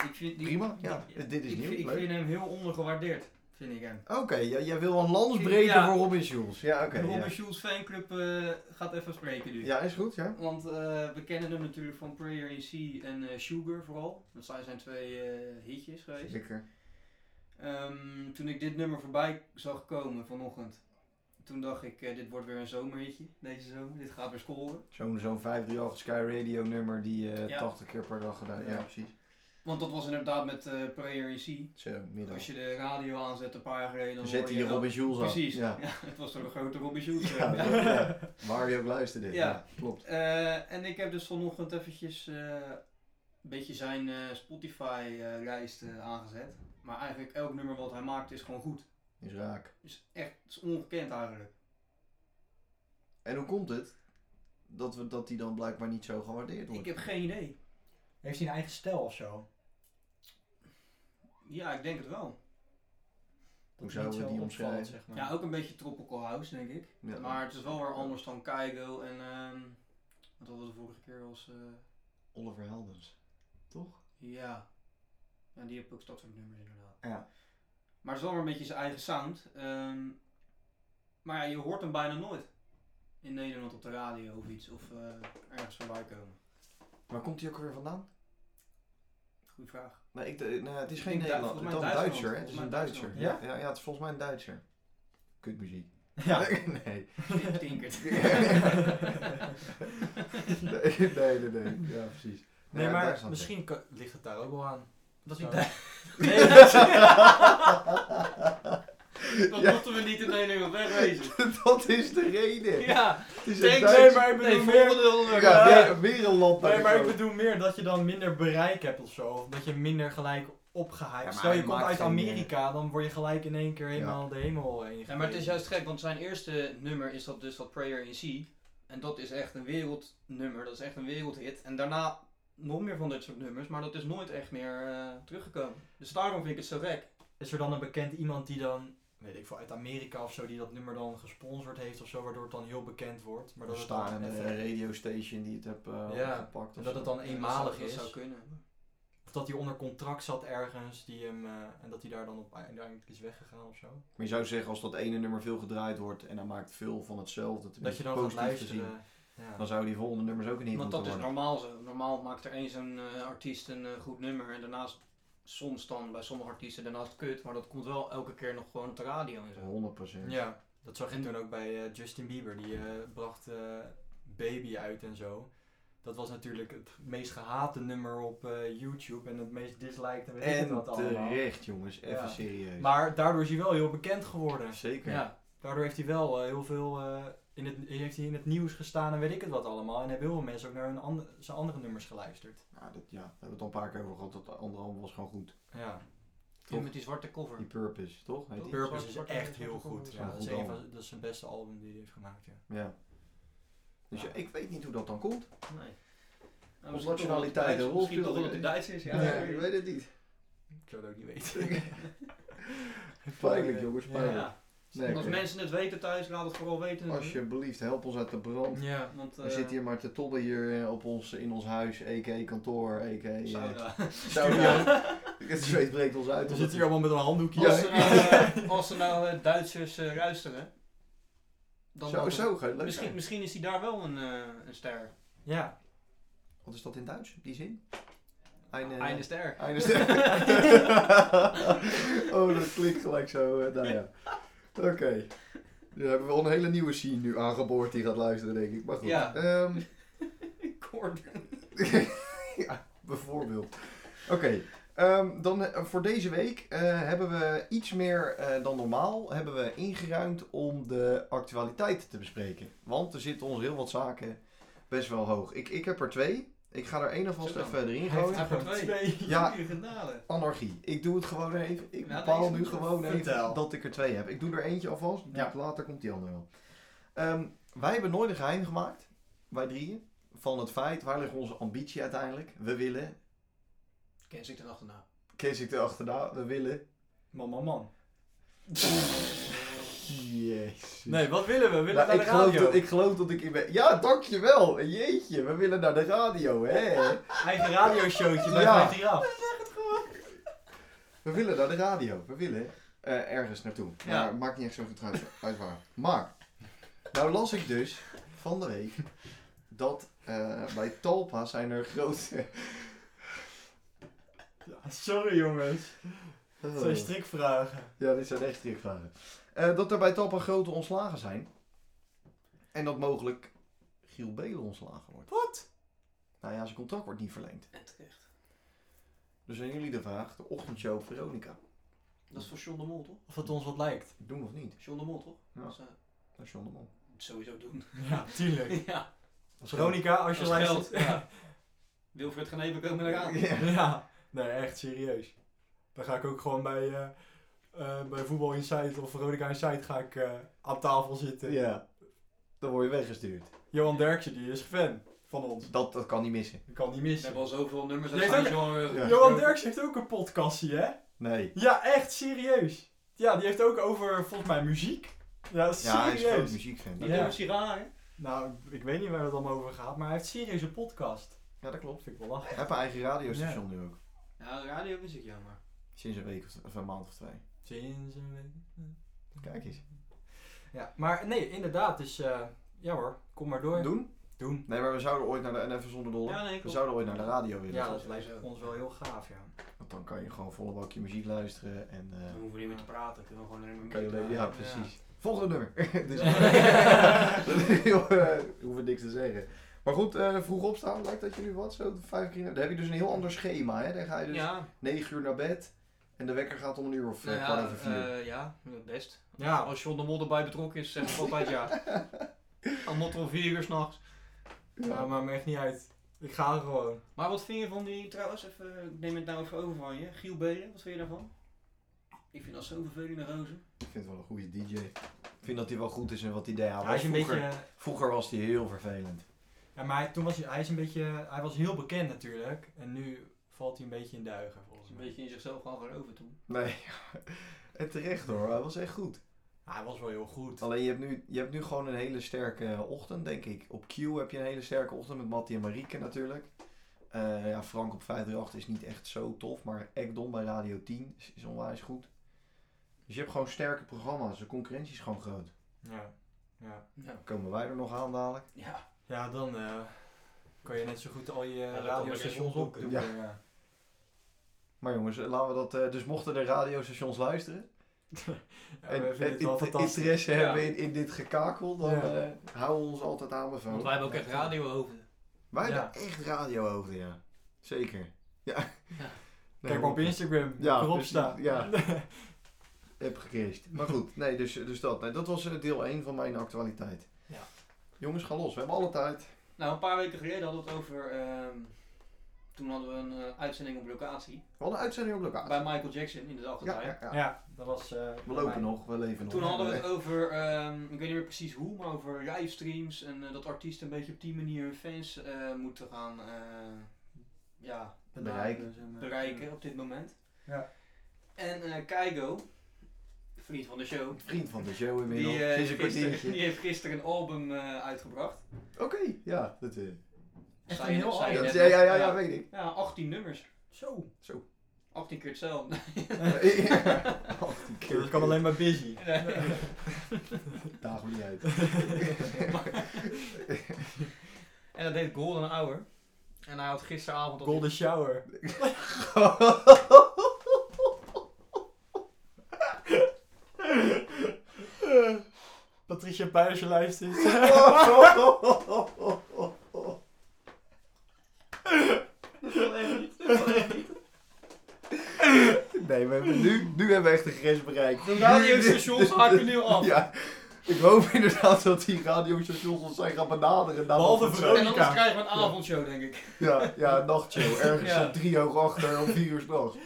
Ik vind die-
Prima, ja. Eh,
ik-
Dit is
ik,
nieuw.
vind- Ik
leuk.
vind hem heel ondergewaardeerd, vind ik hem.
Oké, ja, jij wil een landsbreker
Ja.
voor Robin Schulz. Ja, oké.
de Robin
ja.
Schulz fanclub eh, gaat even spreken nu.
ja, is goed, ja.
Want eh, we kennen hem natuurlijk van Prayer in Sea en eh, Sugar vooral. Dat zijn zijn twee eh, hitjes geweest.
Zeker.
Ehm, toen ik dit nummer voorbij zag komen vanochtend, toen dacht ik, eh, dit wordt weer een zomerhitje deze zomer. Dit gaat weer scoren.
Zo'n zo'n 538 Sky Radio nummer die eh
Ja.
80 keer per dag gedaan. Ja,
Ja.
precies.
Want dat was inderdaad met eh Prayer in Sea.
Zo, middag.
Als je de radio aanzet een paar jaar geleden,
Dan
dan
zet
hoor
hij je
dat.
Robin Schulz aan.
Precies, ja.
Ja.
het was toch een grote Robin Schulz.
Ja,
eh.
dat- ja. Waar je ook luisterde.
Ja.
ja klopt.
Eh, en ik heb dus vanochtend eventjes eh, een beetje zijn eh, Spotify-lijst eh, aangezet. Maar eigenlijk elk nummer wat hij maakt is gewoon goed.
Is raak.
Is echt is ongekend eigenlijk.
En hoe komt het dat, we, dat die dan blijkbaar niet zo gewaardeerd wordt?
Ik heb geen idee.
Heeft hij een eigen stijl of zo?
Ja, ik denk het wel.
Hoe
Dat
zouden
niet
we
zo
die
opvalt,
omschrijven?
Zeg maar.
Ja, ook een beetje tropical house, denk ik.
Ja.
Maar het is wel weer anders dan Keigo en... ehm, wat hadden we de vorige keer als... eh,
Oliver Heldens.
Ja. Ja, die heb ook dat soort nummers inderdaad.
Ja.
Maar het is wel weer een beetje zijn eigen sound. Ehm, maar ja, je hoort hem bijna nooit. In Nederland op de radio of iets. Of eh, ergens voorbij komen.
Waar komt hij ook weer vandaan?
Goeie vraag.
Nee, ik, eh, nou, het is
Ik
geen
denk Duits-
Nederlander.
volgens mij
Het is
Duitsland.
een Duitser. hè? Het is
Volgens mij
een Duitsser. Ja?
Duitsland.
Ja, het is volgens mij een Duitser. Kutmuziek.
Ja.
nee.
Tinkert.
nee. Nee, nee, nee. Ja, precies.
Nee,
ja,
maar
Duitsland,
misschien kan- ligt het daar ook wel aan.
Dat
Zo.
is niet
Nee,
Dat
Ja.
moeten we niet in Nederland wegwezen.
Dat is de reden.
Ja,
Het is
Denk-
een Duitser.
nee, maar ik
nee,
bedoel
volgende
meer...
onderwerp.
Ja,
Ja.
weer, weer een land.
Nee,
dat
maar
ik
ik
zo-
bedoel meer dat je dan minder bereik hebt of zo. Of dat je minder gelijk
Ja,
opgehyped.
maar
Stel je
hij
komt
maakt
uit
geen, eh,
Amerika, dan word je gelijk in één keer helemaal de hemel heen.
Ja, maar het is
gegeven.
juist gek, want zijn eerste nummer is dat dus dat Prayer in Sea. En dat is echt een wereldnummer, dat is echt een wereldhit. En daarna nog meer van dit soort nummers, maar dat is nooit echt meer eh, teruggekomen. Dus daarom vind ik het zo gek.
Is er dan een bekend iemand die dan, weet ik veel, uit Amerika of zo, die dat nummer dan gesponsord heeft of zo, waardoor het dan heel bekend wordt. Maar dat het dan,
Staan
even-
een eh, radiostation die het heb eh,
Ja,
opgepakt.
en
of
dat
zo.
het dan eenmalig
dat zou,
is.
Dat zou kunnen.
Of dat hij onder contract zat ergens die hem, eh, en dat hij daar dan op uiteindelijk is weggegaan of zo.
Maar je zou zeggen, als dat ene nummer veel gedraaid wordt en hij maakt veel van hetzelfde,
Dat
tenminste
je dan gaat
positief
luisteren.
gezien,
ja.
dan zouden die volgende nummers ook een hit
Want
moeten
dat is
worden.
normaal zo. Normaal maakt er één zo'n eh, artiest een eh, goed nummer en daarnaast soms dan bij sommige artiesten daarnaast kut, maar dat komt wel elke keer nog gewoon op de radio en zo.
100%.
Ja, dat zag je
En-
toen ook bij eh, Justin Bieber. Die eh, bracht eh, Baby uit en zo. Dat was natuurlijk het meest gehate nummer op eh, YouTube en het meest disliked en weet ik het
En
wat allemaal.
terecht, jongens. Even
Ja.
serieus.
Maar daardoor is hij wel heel bekend geworden.
Zeker.
Ja,
Daardoor heeft hij wel eh, heel veel eh, in het, heeft hij in het nieuws gestaan en weet ik het wat allemaal. En hebben heel veel mensen ook naar hun ander- zijn andere nummers geluisterd.
Ja, Nou, dat, ja, daar hebben we het al een paar keer over gehad. Dat andere album was gewoon goed.
Ja,
Die met die zwarte cover.
Die Purpose, toch? Heet die?
Pur-
Purpose
Zwarte-
is
Zwarte-
echt
Zwarte
heel
Koppen
goed.
is
Ja,
een
dat, is
goed
een
album.
van, dat is zijn beste album die hij heeft gemaakt. Ja.
Ja. Dus ja,
Ja.
ik weet niet hoe dat dan komt.
Nee. Nou,
Of nationaliteit een rol
Misschien toch
speelde.
omdat het Duits is, ja.
ik weet het niet.
Ik zou het ook niet weten.
Pijnlijk, jongens,
Ja.
pijnlijk.
Ja.
Nee,
Als
oké.
mensen het weten thuis, laat het vooral weten.
Alsjeblieft, help ons uit de brand.
Ja.
Want, eh
We zitten hier maar te tobben hier eh, op ons, in ons huis, a.k.a. kantoor, a.k.a. eh,
Sauna.
sauna. Het zweet breekt ons uit.
We zitten hier allemaal met een handdoekje.
Ja.
Als er nou, eh, als er nou eh, Duitsers eh, luisteren, dan
Zo, zo, gaat het leuk
Misschien,
zijn.
misschien is hij daar wel een, eh, een ster.
Ja.
Wat is dat in Duits? Die zin? eh,
Eine, ster.
Eine ster. oh, dat klinkt gelijk zo. eh, Nou ja. Oké. We hebben wel een hele nieuwe scene nu aangeboord die gaat luisteren, denk ik. Maar goed.
Ja.
Ehm,
Gordon.
ja, bijvoorbeeld. Oké, ehm, dan eh, voor deze week eh, hebben we iets meer eh, dan normaal hebben we ingeruimd om de actualiteit te bespreken. Want er zitten ons heel wat zaken best wel hoog. Ik, ik heb er twee. Ik ga er één alvast
Zo dan.
even erin
Hij heeft
gooien.
er
Gewoon
gewoon
twee.
Ja.
Jullie genade.
Anarchie. Ik doe het gewoon even. Ik
Ja,
bepaal
Nou, deze
nu
moet je
gewoon
vertellen.
even dat ik er twee heb. Ik doe er eentje alvast.
Ja.
Ja. Later komt die andere wel. Ehm, wij hebben nooit een geheim gemaakt. Wij drieën. Van het feit, waar ligt onze ambitie uiteindelijk? We willen,
Ken ik erachterna.
Kees ik erachterna, we willen...
Man, man, man.
Jezus.
Nee, wat willen we? We willen
Nou,
naar
ik,
de
geloof
radio.
dat, ik geloof dat ik in ben. Ja, dankjewel. Jeetje, we willen naar de radio, hè?
Eigen radioshowtje bij
Ja.
50 af.
We willen naar de radio. We willen eh, ergens naartoe. Maar
Ja.
maakt niet echt zo goed uit, uit waar. Maar, nou las ik dus van de week dat eh, bij Talpa zijn er grote...
sorry jongens. Dat zijn
Oh.
strikvragen.
Ja, dit zijn echt strikvragen. Eh, dat er bij Talpa grote ontslagen zijn. En dat mogelijk Giel Belen ontslagen wordt.
Wat?
Nou ja, zijn contract wordt niet verlengd.
En terecht.
Dus aan jullie de vraag, de ochtendshow Veronica.
Dat is voor John de Mol, toch?
Of het ons wat lijkt.
Doen of niet?
John de Mol, toch?
Ja.
Dat is, eh,
Dat is John de Mol.
sowieso doen.
Ja, tuurlijk.
ja.
Dat is
Veronica, als
Als
je
je geld.
luistert.
Ja. Wilfred Genepen komen eraan.
Ja.
Ja, nee, echt serieus. Dan ga ik ook gewoon bij, eh, eh, bij Voetbal Insight of Veronica Insight ga ik, eh, aan tafel zitten.
Ja. Dan word je weggestuurd.
Johan Derksen, die is fan van ons.
Dat, dat kan niet missen.
Ik kan niet
We
missen.
hebben al zoveel nummers.
Jij
Dat gaan we
hebt
zo, eh,
Ja.
Johan Derksen heeft ook een podcastje, hè?
Nee.
Ja, echt serieus. Ja, die heeft ook over, volgens mij, muziek. Ja,
Ja, hij is groot
serieus.
muziekfan.
Die
Ja.
nummers die raar, hè?
nou, ik weet niet waar het allemaal over gaat, maar hij heeft serieus een podcast.
Ja, dat
Dat
klopt.
vind ik wel lachen.
Hij heeft een eigen radiostation nu ook.
Ja, radio is ik jammer.
Sinds een week of, of een maand of twee.
Sinds een week.
Kijk eens.
Ja, maar nee, inderdaad. Dus eh, ja hoor, kom maar door.
Doen?
Doen.
Nee, maar we zouden ooit naar de... En even zonder dolle.
Ja, nee,
we
klopt.
zouden ooit naar de radio willen.
Ja, dat
sowieso.
lijkt ons wel heel gaaf, ja.
Want dan kan je gewoon volle bakje muziek luisteren en... eh,
Dan hoeven we niet meer te praten. Kunnen we gewoon alleen maar
kan je
muziek
le- ja,
draaien.
precies. Volgende nummer. dus,
Ja.
Joh, eh, hoef ik niks te zeggen. Maar goed, eh, vroeg opstaan. Lijkt dat je nu wat? Zo vijf keer... Dan heb je dus een heel ander schema, hè? Dan ga je dus...
Ja,
9 uur naar bed. En de wekker gaat om een uur of eh,
Nou ja,
kwart over vier. Ah.
eh, ja, best.
Ja,
Als John de Mol erbij betrokken is, zeg ik altijd ja. Al moet er om vier uur s'nachts.
ja, maar maakt niet uit. Ik ga gewoon.
Maar wat vind je van die, trouwens, even, ik neem het nou even over van je, Giel Belen, wat vind je daarvan? Ik vind dat zo vervelend naar rozen.
Ik vind het wel een goede DJ. Ik vind dat hij wel goed is in wat hij deed. Hij
hij
was
is een
vroeger,
beetje...
vroeger was hij heel vervelend.
Ja, maar hij, toen was hij, hij is een beetje... Hij was heel bekend natuurlijk. En nu valt hij een beetje in duigen,
Dat
volgens
is een
mij.
beetje in zichzelf gaan geroven toen.
Nee, en terecht hoor. Hij was echt goed.
Ja, hij was wel heel goed.
Alleen je hebt, nu, je hebt nu gewoon een hele sterke ochtend, denk ik. Op Q heb je een hele sterke ochtend met Mattie en Marieke natuurlijk. Eh, ja, Frank op 538 is niet echt zo tof. Maar Ekdom bij Radio 10 is, is onwijs goed. Dus je hebt gewoon sterke programma's. De concurrentie is gewoon groot.
Ja, ja.
Ja,
Komen wij er nog aan dadelijk?
ja.
ja dan eh, kan je net zo goed al je
dat kan
radiostations
ik ook
opdoen.
doen.
Ja. Ja.
Maar jongens, laten we dat. eh, dus mochten de radiostations luisteren.
we vinden het wel
inter-
fantastisch.
interesse
Ja.
hebben in, in dit gekakel, dan
Ja.
eh, houden we ons altijd aanbevolen.
Want wij hebben ook echt radiohoofden.
Wij
Ja.
hebben echt radiohoofden, ja. Zeker. Ja. Nee,
Kijk maar op Instagram.
Ja,
Ja, erop
precies,
staan.
ja. Heb gecrashed. Maar goed, nee, dus, dus dat. Nee, dat was eh, deel 1 van mijn actualiteit.
Ja.
Jongens, ga los. We hebben alle tijd.
Nou, een paar weken geleden hadden we het over. ehm, toen hadden we een eh, uitzending op locatie.
We hadden een uitzending op locatie.
Bij Michael Jackson in de
ja,
achtertuin.
ja, ja.
Ja, dat was... eh,
We
bij mij.
lopen nog, we leven nog. Eh,
Toen hadden we het over, ehm, ik weet niet meer precies hoe, maar over livestreams en eh, dat artiesten een beetje op die manier hun fans eh, moeten gaan eh, ja,
Bereiken.
Dus, eh,
bereiken op dit moment.
Ja.
En eh Keigo, vriend van de show,
Vriend van de show
die,
inmiddels.
eh,
Sinds een
gister- die
kwartiertje.
heeft gisteren een album eh, uitgebracht.
Oké, ja. Dat, eh,
Echt
een heel
ja,
album.
ja, ja, ja, weet ik.
Ja, 18 nummers.
Zo.
18 keer hetzelfde.
Ach, Oh, die
Dat kan alleen maar busy.
Daag me niet uit.
en dat deed Golden Hour. En hij had gisteravond op
Golden shower.
Eh.
Patricia Pijers luistert.
Nee, we hebben nu, nu hebben we echt de grens bereikt.
De radiostations haken nu af.
Ja, ik hoop inderdaad dat die radiostations ons zijn gaan benaderen. na
Behalve
dat-
Veronica.
En anders krijgen we een avondshow, denk ik.
Ja, ja, nachtshow. Ergens
Ja.
om drie uur achter om vier uur s'nachts.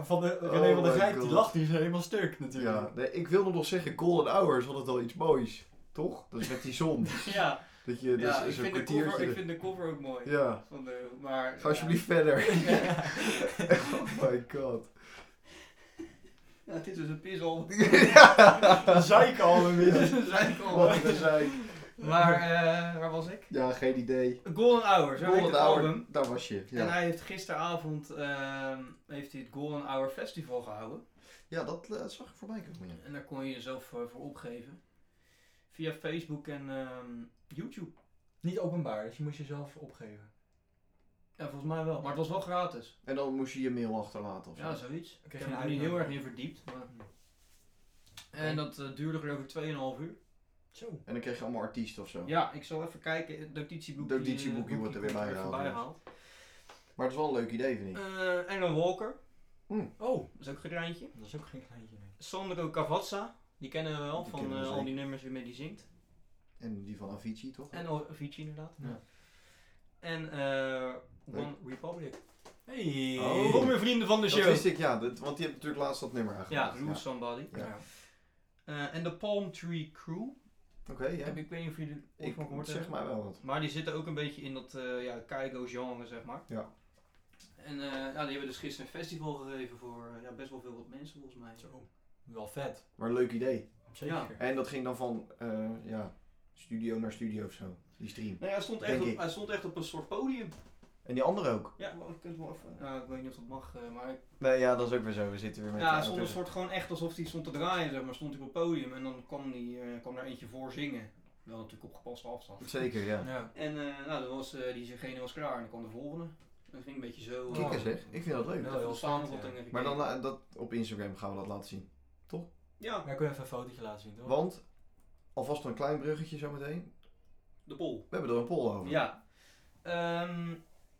Van de,
Oh
René van der
my
Grijp, die
God.
lacht hier zo helemaal stuk natuurlijk.
Ja, nee, ik wilde nog zeggen, golden hours had het wel iets moois. Toch? Dat is met die zon.
Ja,
Dat je,
ja
dat
ik,
is een
vind de cover, ik
kwartiertje.
vind de cover ook mooi.
Ja,
Van de, maar,
ga alsjeblieft verder.
Ja.
Oh my god.
Ja, dit is een pissel.
Dan zei ik al een
Dit
beetje.
is een zijkant.
Wat een gezeik.
Maar eh, waar was ik?
Ja, geen idee.
Golden Hour, zo heet
Golden
het album.
hour, daar was je.
En
Ja,
hij heeft gisteravond ehm, heeft hij het Golden Hour Festival gehouden.
ja dat eh, zag ik voorbij komen. ja.
En daar kon je jezelf voor, voor opgeven. Via Facebook en ehm, YouTube.
Niet openbaar, dus je moest jezelf opgeven.
Ja, volgens mij wel. Maar het was wel gratis.
En dan moest je je mail achterlaten of Hm. zo.
Ja, zoiets. Ik
kreeg
heb
een
er niet heel erg
uitnodiging.
in verdiept. Maar... En dat eh, duurde geloof ik 2,5 uur.
Zo.
En dan kreeg je allemaal artiesten of zo.
Ja, ik zal even kijken. Het Notitieboekje, eh,
Notitieboekje wordt er weer
komt
bijgehaald,
even
ja. Maar het is wel een leuk idee, vind ik.
bijgehaald. Eh, Alan Walker,
Oh,
dat is ook een geintje.
dat is ook geen kleintje meer.
Sandro Cavazza, die kennen we wel
Die
van
kennen we
eh, al
zeker.
die nummers waarmee die zingt.
En die van Avicii, toch?
En O- Avicii inderdaad.
Ja.
En eh One
Leuk.
Republic.
Hey.
Oh.
Kom weer vrienden van de
Dat
show.
wist ik, ja. dat- want die hebt natuurlijk laatst dat nummer
Ja,
aangemaakt.
Lose Somebody.
Ja.
Eh, en de Palm Tree Crew.
Oké, ja.
Heb ik, ik weet niet of jullie er ooit
Ik
van gehoord eh?
zeg
hebben.
mij wel wat.
Maar die zitten ook een beetje in dat eh ja, Keigo-genre, zeg maar.
Ja.
En eh, ja, die hebben dus gisteren een festival gegeven voor eh, ja, best wel veel wat mensen, volgens mij.
Zo. Wel vet.
Maar een leuk idee.
Zeker.
En dat ging dan van, eh, ja, studio naar studio of zo. Die stream.
Nee, hij Nou stond, echt
Denk
op,
ik.
hij stond echt op een soort podium.
En die andere ook.
Ja, wel, ik, kan het wel even, ja, ik weet niet of dat mag, eh, maar ik-
Nee, ja, dat is ook weer zo. We zitten weer met...
ja, hij
de
stond een
auto.
soort gewoon echt alsof hij stond te draaien, zeg maar, stond hij op het podium en dan kwam, die, eh, kwam er eentje voor zingen. Wel natuurlijk op gepaste afstand.
Zeker, ja.
Ja.
En eh, nou, dan was, eh, diegene was klaar en dan kwam de volgende. En dat ging een beetje zo. eh,
Kikker,
Kikken zeg. Ik vind dat leuk.
Ja.
even
heel
de samenvatting even
Maar dan
kijken.
eh, dat, op Instagram gaan we dat laten zien.
Ja,
Maar ik wil even een fotootje laten zien, toch?
Want, alvast een klein bruggetje zometeen.
de pol.
We hebben er een poll over.
Ja. Ehm,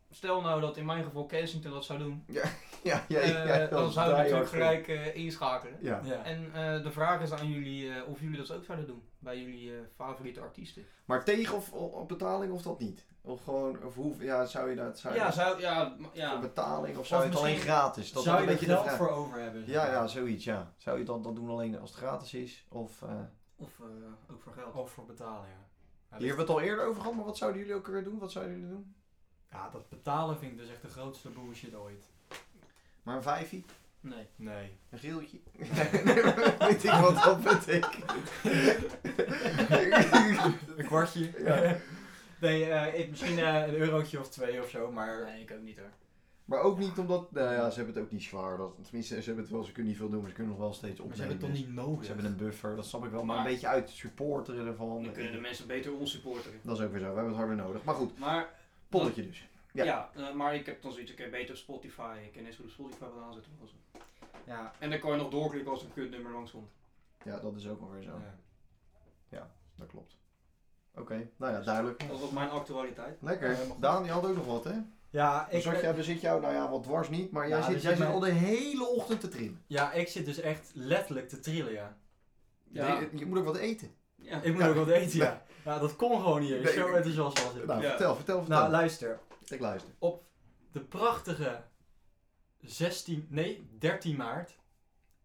stel nou dat in mijn geval Kensington dat zou doen.
ja, ja,
eh,
ja, dat
dan
is
zou ik natuurlijk
diehard.
gelijk eh, inschakelen.
Ja,
Ja.
En eh, de vraag is aan jullie eh, of jullie dat ook zouden doen bij jullie eh, favoriete artiesten.
maar tegen of o- op betaling of dat niet? Of gewoon, of hoe, ja, zou je dat, zou je
ja,
dat
zou, ja, m- ja.
voor betaling of
Of
zou je het alleen
misschien-
gratis? Dat is
Zou
een
je er
beetje de
geld
vraag.
voor over hebben? zeg
Ja,
maar?
ja, zoiets, ja. Zou je dan dat doen alleen als het gratis is? Of, eh, Oh.
Of eh, ook voor geld.
Of voor betalen, ja. Ja,
hier hebben we het al eerder over gehad, maar wat zouden jullie ook weer doen? Wat zouden jullie doen?
Ja, dat betalen vind ik dus echt de grootste bullshit ooit.
Maar een vijfie?
Nee.
Nee.
Een geeltje? Weet ik wat dat betekent.
Een kwartje?
Ja.
Nee, eh, ik, misschien eh, een eurotje of twee of zo, maar...
Nee, ik ook niet hoor.
Maar ook niet omdat, nou ja, ze hebben het ook niet zwaar. Dat, tenminste, ze hebben het wel, ze kunnen niet veel doen, maar ze kunnen nog wel steeds
Maar
opnemen. Dus
ze hebben het toch niet nodig?
Ze hebben een buffer, dat snap ik wel, maar
Maar-
een beetje uit supporteren ervan.
Dan kunnen de mensen beter ons supporteren.
Dat is ook weer zo, we hebben het harder nodig. Maar goed,
Maar,
polletje dus. Ja.
ja, eh, maar ik heb dan zoiets, ik heb beter op Spotify. Ik kan net zo goed Spotify wel aanzetten. of zo.
Ja.
En dan kan je nog doorklikken als er een kutnummer langs komt.
Ja, dat is ook wel weer zo.
ja.
Dat klopt. Oké, nou ja, duidelijk.
Dat was mijn actualiteit.
Ja,
Lekker.
helemaal goed.
Daan, je had ook nog wat, hè? Dus
Ja,
Dan
ik, eh,
zat jij, dan zit jou, nou ja, wat dwars niet, maar jij
Ja,
zit,
dus
jij
ik
zit
ben-
al de hele ochtend te trillen.
ja, ik zit dus echt letterlijk te trillen, ja.
Ja.
Je, je moet ook wat eten.
Ja.
Ik moet ook wat eten, ja. Ja, dat kon gewoon niet. Ik
Nee,
zo
ik-
enthousiast was ik.
Nou,
Ja.
vertel, vertel, vertel.
Nou, luister.
ik luister.
Op de prachtige 16, nee, 13 maart.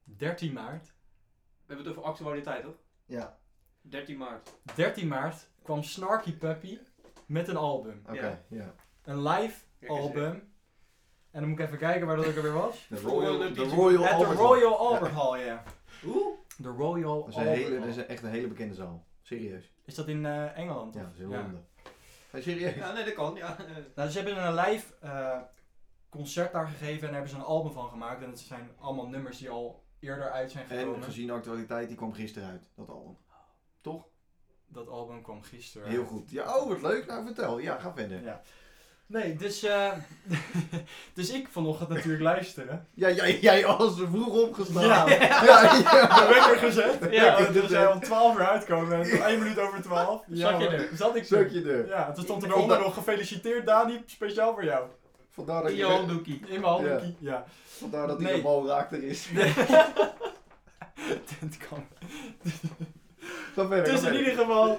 13 maart.
We hebben het over actualiteit, toch?
Ja,
13 maart.
13 maart kwam Snarky Puppy met een album.
oké.
Ja.
ja.
Een live
Kijk eens
album. En dan moet ik even kijken waar dat ook alweer was.
De
Royal-
Royal, de
At the
Royal
At the
Albert Hall.
Royal Albert Hall, ja.
Oeh.
De Royal
Dat is, een
Albert
hele, dat
Hall.
is een- echt een hele bekende zaal. Serieus.
Is dat in eh, Engeland?
Ja,
of-
dat is in Londen. Hey, serieus?
Ja, nee, dat kan. Ja. eh.
Nou, ze hebben een live eh, concert daar gegeven en daar hebben ze een album van gemaakt. En het zijn allemaal nummers die al eerder uit zijn
En
gekomen.
gezien de actualiteit, die kwam gisteren uit, dat album.
Dat album kwam gisteren.
Heel goed. Ja, oh, wat leuk. Nou, vertel. Ja, ga verder.
Ja. Nee, dus, eh, dus ik vanochtend natuurlijk luisteren.
Ja, jij, jij was er vroeg opgestaan.
Ja.
ja, ja.
De wekker gezet. Ja,
Ik
want we
doe
zijn
het.
om 12 uur uitkomen. En om 1 minuut over 12.
Zat je
hoor.
er?
Zat ik
Zoek
er.
je er.
Ja, toen stond
Ik-
er onder
ik-
nog gefeliciteerd Dani, speciaal voor jou.
Vandaar dat,
In je
je,
handdoekie.
In mijn handen. Ja.
vandaar dat hij
Nee.
de bal raakte is.
Nee. Dit kan
Ga verder.
Dus
ga
in
verder.
ieder geval.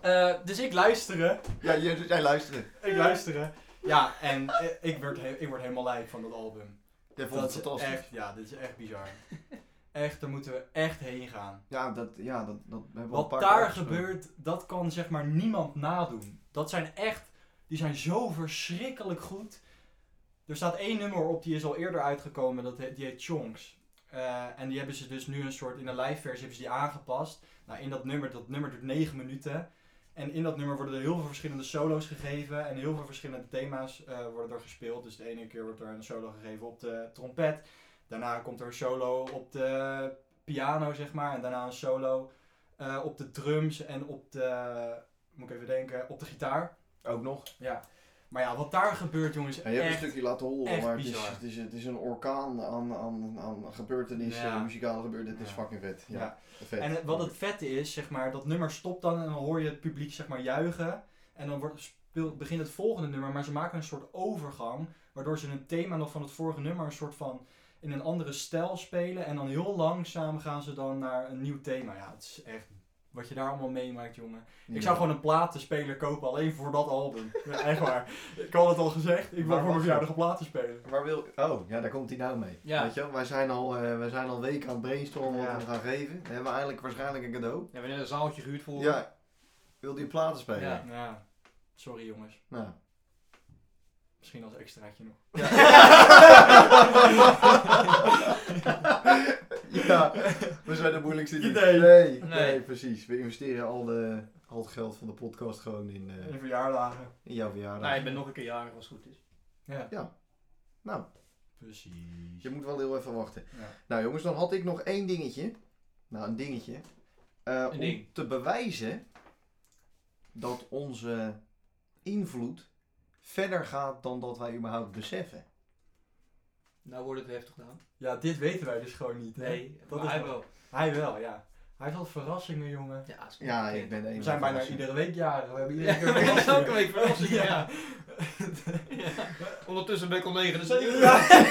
eh, dus ik luisterde.
Ja, jij, jij luisterde.
Ik luisterde. Ja, en eh, ik werd, he- ik werd helemaal lijp van dat album.
Jij vond het
is
fantastisch.
Echt, ja, dit is echt bizar. Echt, daar moeten we echt heen gaan.
Ja, dat, ja, dat, dat hebben we al een
Wat
paar
daar
keer afgesproken.
gebeurt, dat kan zeg maar niemand nadoen. Dat zijn echt, die zijn zo verschrikkelijk goed. Er staat één nummer op, die is al eerder uitgekomen, dat he- die heet Chonks. Eh, en die hebben ze dus nu een soort, in de live versie hebben ze die aangepast. Nou, in dat nummer, dat nummer duurt 9 minuten. En in dat nummer worden er heel veel verschillende solo's gegeven. En heel veel verschillende thema's eh, worden er gespeeld. Dus de ene keer wordt er een solo gegeven op de trompet. Daarna komt er een solo op de piano, zeg maar. En daarna een solo eh, op de drums en op de, moet ik even denken, op de gitaar.
Ook nog.
Ja. Maar ja, wat daar gebeurt, jongens,
Ja, je hebt
echt-
een stukje laten horen,
echt
maar het is,
bizar.
het, is, het is een orkaan aan, aan, aan gebeurtenissen,
Ja.
muzikale gebeurtenissen. Het is
Ja.
fucking vet. Ja,
Ja.
vet.
En het- wat het vette is, zeg maar, dat nummer stopt dan en dan hoor je het publiek zeg maar juichen. En dan wordt, speelt, begint het volgende nummer, maar ze maken een soort overgang. Waardoor ze een thema nog van het vorige nummer een soort van in een andere stijl spelen. En dan heel langzaam gaan ze dan naar een nieuw thema. Ja, het is echt wat je daar allemaal meemaakt, jongen. Ik zou gewoon een platenspeler kopen alleen voor dat album. Ja, echt waar. Ik had het al gezegd, ik wil
Maar
voor mijn
wacht.
verjaardag een platenspeler.
Waar wil... Oh, ja, daar komt hij nou mee.
Ja.
Weet je wel, wij zijn al, eh, wij zijn al weken aan het brainstormen
Ja.
wat we gaan geven. We hebben eigenlijk waarschijnlijk een cadeau.
We hebben net een zaaltje gehuurd voor.
Ja, wil die platen spelen?
Ja.
Ja, sorry jongens.
Nou.
Misschien als extraatje nog.
Ja. ja, we zijn de moeilijkste niet.
Idee.
Nee, nee.
Nee.
precies. We investeren al, de, al het geld van de podcast gewoon in, eh,
En verjaardagen.
in jouw verjaardag.
Nou, ik ben nog een keer jarig als het goed is.
Ja.
Ja. Nou.
Precies.
Je moet wel heel even wachten.
Ja.
Nou jongens, dan had ik nog één dingetje. Nou, een dingetje. Eh, om
ding.
te bewijzen dat onze invloed verder gaat dan dat wij überhaupt beseffen.
Nou wordt het heftig gedaan.
Ja, dit weten wij dus gewoon niet. hè?
Nee,
dat
dat
is
hij
wel-
wel.
Hij wel, ja. Hij heeft al verrassingen, jongen.
Ja, het is wel
Ja,
bekend.
ik ben één.
We zijn bijna iedere week jaren. We hebben iedere keer
Ja, elke
verrassingen.
week verrassing, ja.
Ja.
Ja. Ondertussen ben ik al 79.
Ja.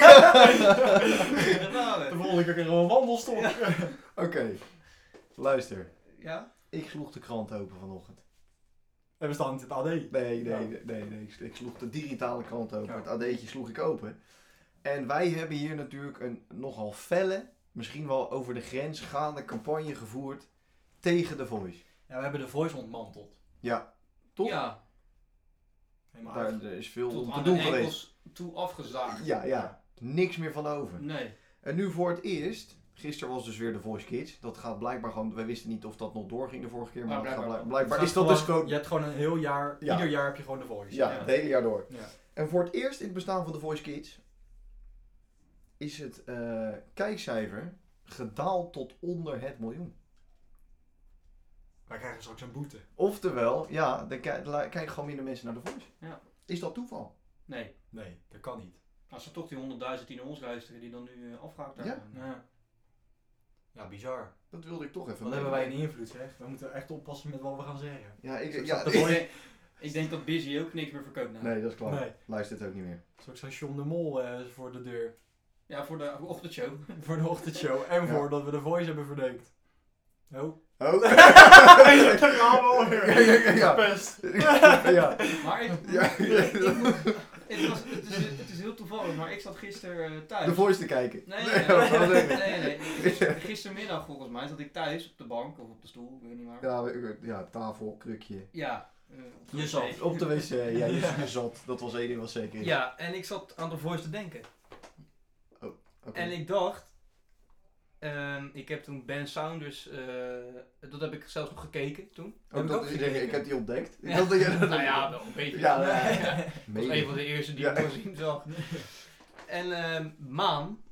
Nou, hè.
De volgende keer krijgen we een wandelstok.
Oké, luister.
Ja?
Ik sloeg de krant open vanochtend.
En we staan in het AD.
Nee, nee,
Nou.
nee, nee, nee. Ik, ik sloeg de digitale krant open.
Ja.
Het AD'tje sloeg ik open. En wij hebben hier natuurlijk een nogal felle, misschien wel over de grens gaande campagne gevoerd tegen de Voice.
Ja, we hebben de voice ontmanteld.
Toch?
Ja,
Helemaal
Daar
uit.
er is veel
tot
om te
aan
doen
de
geweest.
enkels toe afgezaagd.
Ja, ja. Niks meer van over.
Nee.
En nu voor het eerst. Gisteren was dus weer de Voice Kids. Dat gaat blijkbaar gewoon. Wij wisten niet of dat nog doorging de vorige keer. Maar,
Maar
dat gaat
blijkbaar
blijkbaar,
wel.
blijkbaar
Het
is dat
staat
dus gewoon.
Je hebt gewoon een heel jaar...
Ja.
Ieder jaar heb je gewoon de voice.
Ja,
Ja.
het hele jaar door.
Ja.
En voor het eerst in het bestaan van de Voice Kids is het eh, kijkcijfer gedaald tot onder het miljoen.
Wij krijgen straks een boete.
Oftewel, ja, dan ki- la- kijken gewoon minder mensen naar de Voice.
Ja.
Is dat toeval?
Nee.
Nee, dat kan niet.
Als ze toch die 100.000 die naar ons luisteren, die dan nu eh, afgehaakt
Ja.
worden.
Ja, ja bizar.
Dat wilde ik toch even.
Wat
mee-
hebben wij een invloed, zeg. We moeten echt oppassen met wat we gaan zeggen.
Ja, ik,
Zoals
ja,
dat
Ik
de Voice-
denk- Ik denk dat Busy ook niks meer verkoopt nou.
Nee, dat is klaar.
Nee.
Luistert ook niet meer.
Straks staat John de Mol eh, voor de deur.
Ja, voor de ochtendshow.
Voor de ochtendshow.
Ja.
En voordat we de voice hebben verdenkt. Oh.
Oh.
Daar gaan we
Ja, ja, ja.
Verpest.
ja.
Maar ik,
Ja.
ik- ik moet- het, was, het, is, het is heel toevallig, maar ik zat gisteren eh, thuis.
De voice te kijken.
Nee, nee,
Nee, dat
nee.
was
nee,
leuk.
nee, nee. Gister- Gistermiddag volgens mij zat ik thuis op de bank of op de stoel, ik weet niet waar.
Ja, we- ja, tafel, krukje.
Ja. eh, op de
Je
wc.
zat
Op de wc, ja, je, je zat. Dat was één ding wat zeker is.
Ja, en ik zat aan de voice te denken.
Oké.
En ik dacht, ehm, ik heb toen Ben Saunders, eh, dat heb ik zelfs nog gekeken toen.
Ook
ik
Oh, dat-
ook
ik,
gekeken.
denk, ik heb die ontdekt. Ik dacht dat jij dat-
nou ja, wel een beetje.
Ja, nou ja.
Ja. Dat was
Mede.
een van de eerste die ik
Ja.
voorzien zag. En ehm, Maan,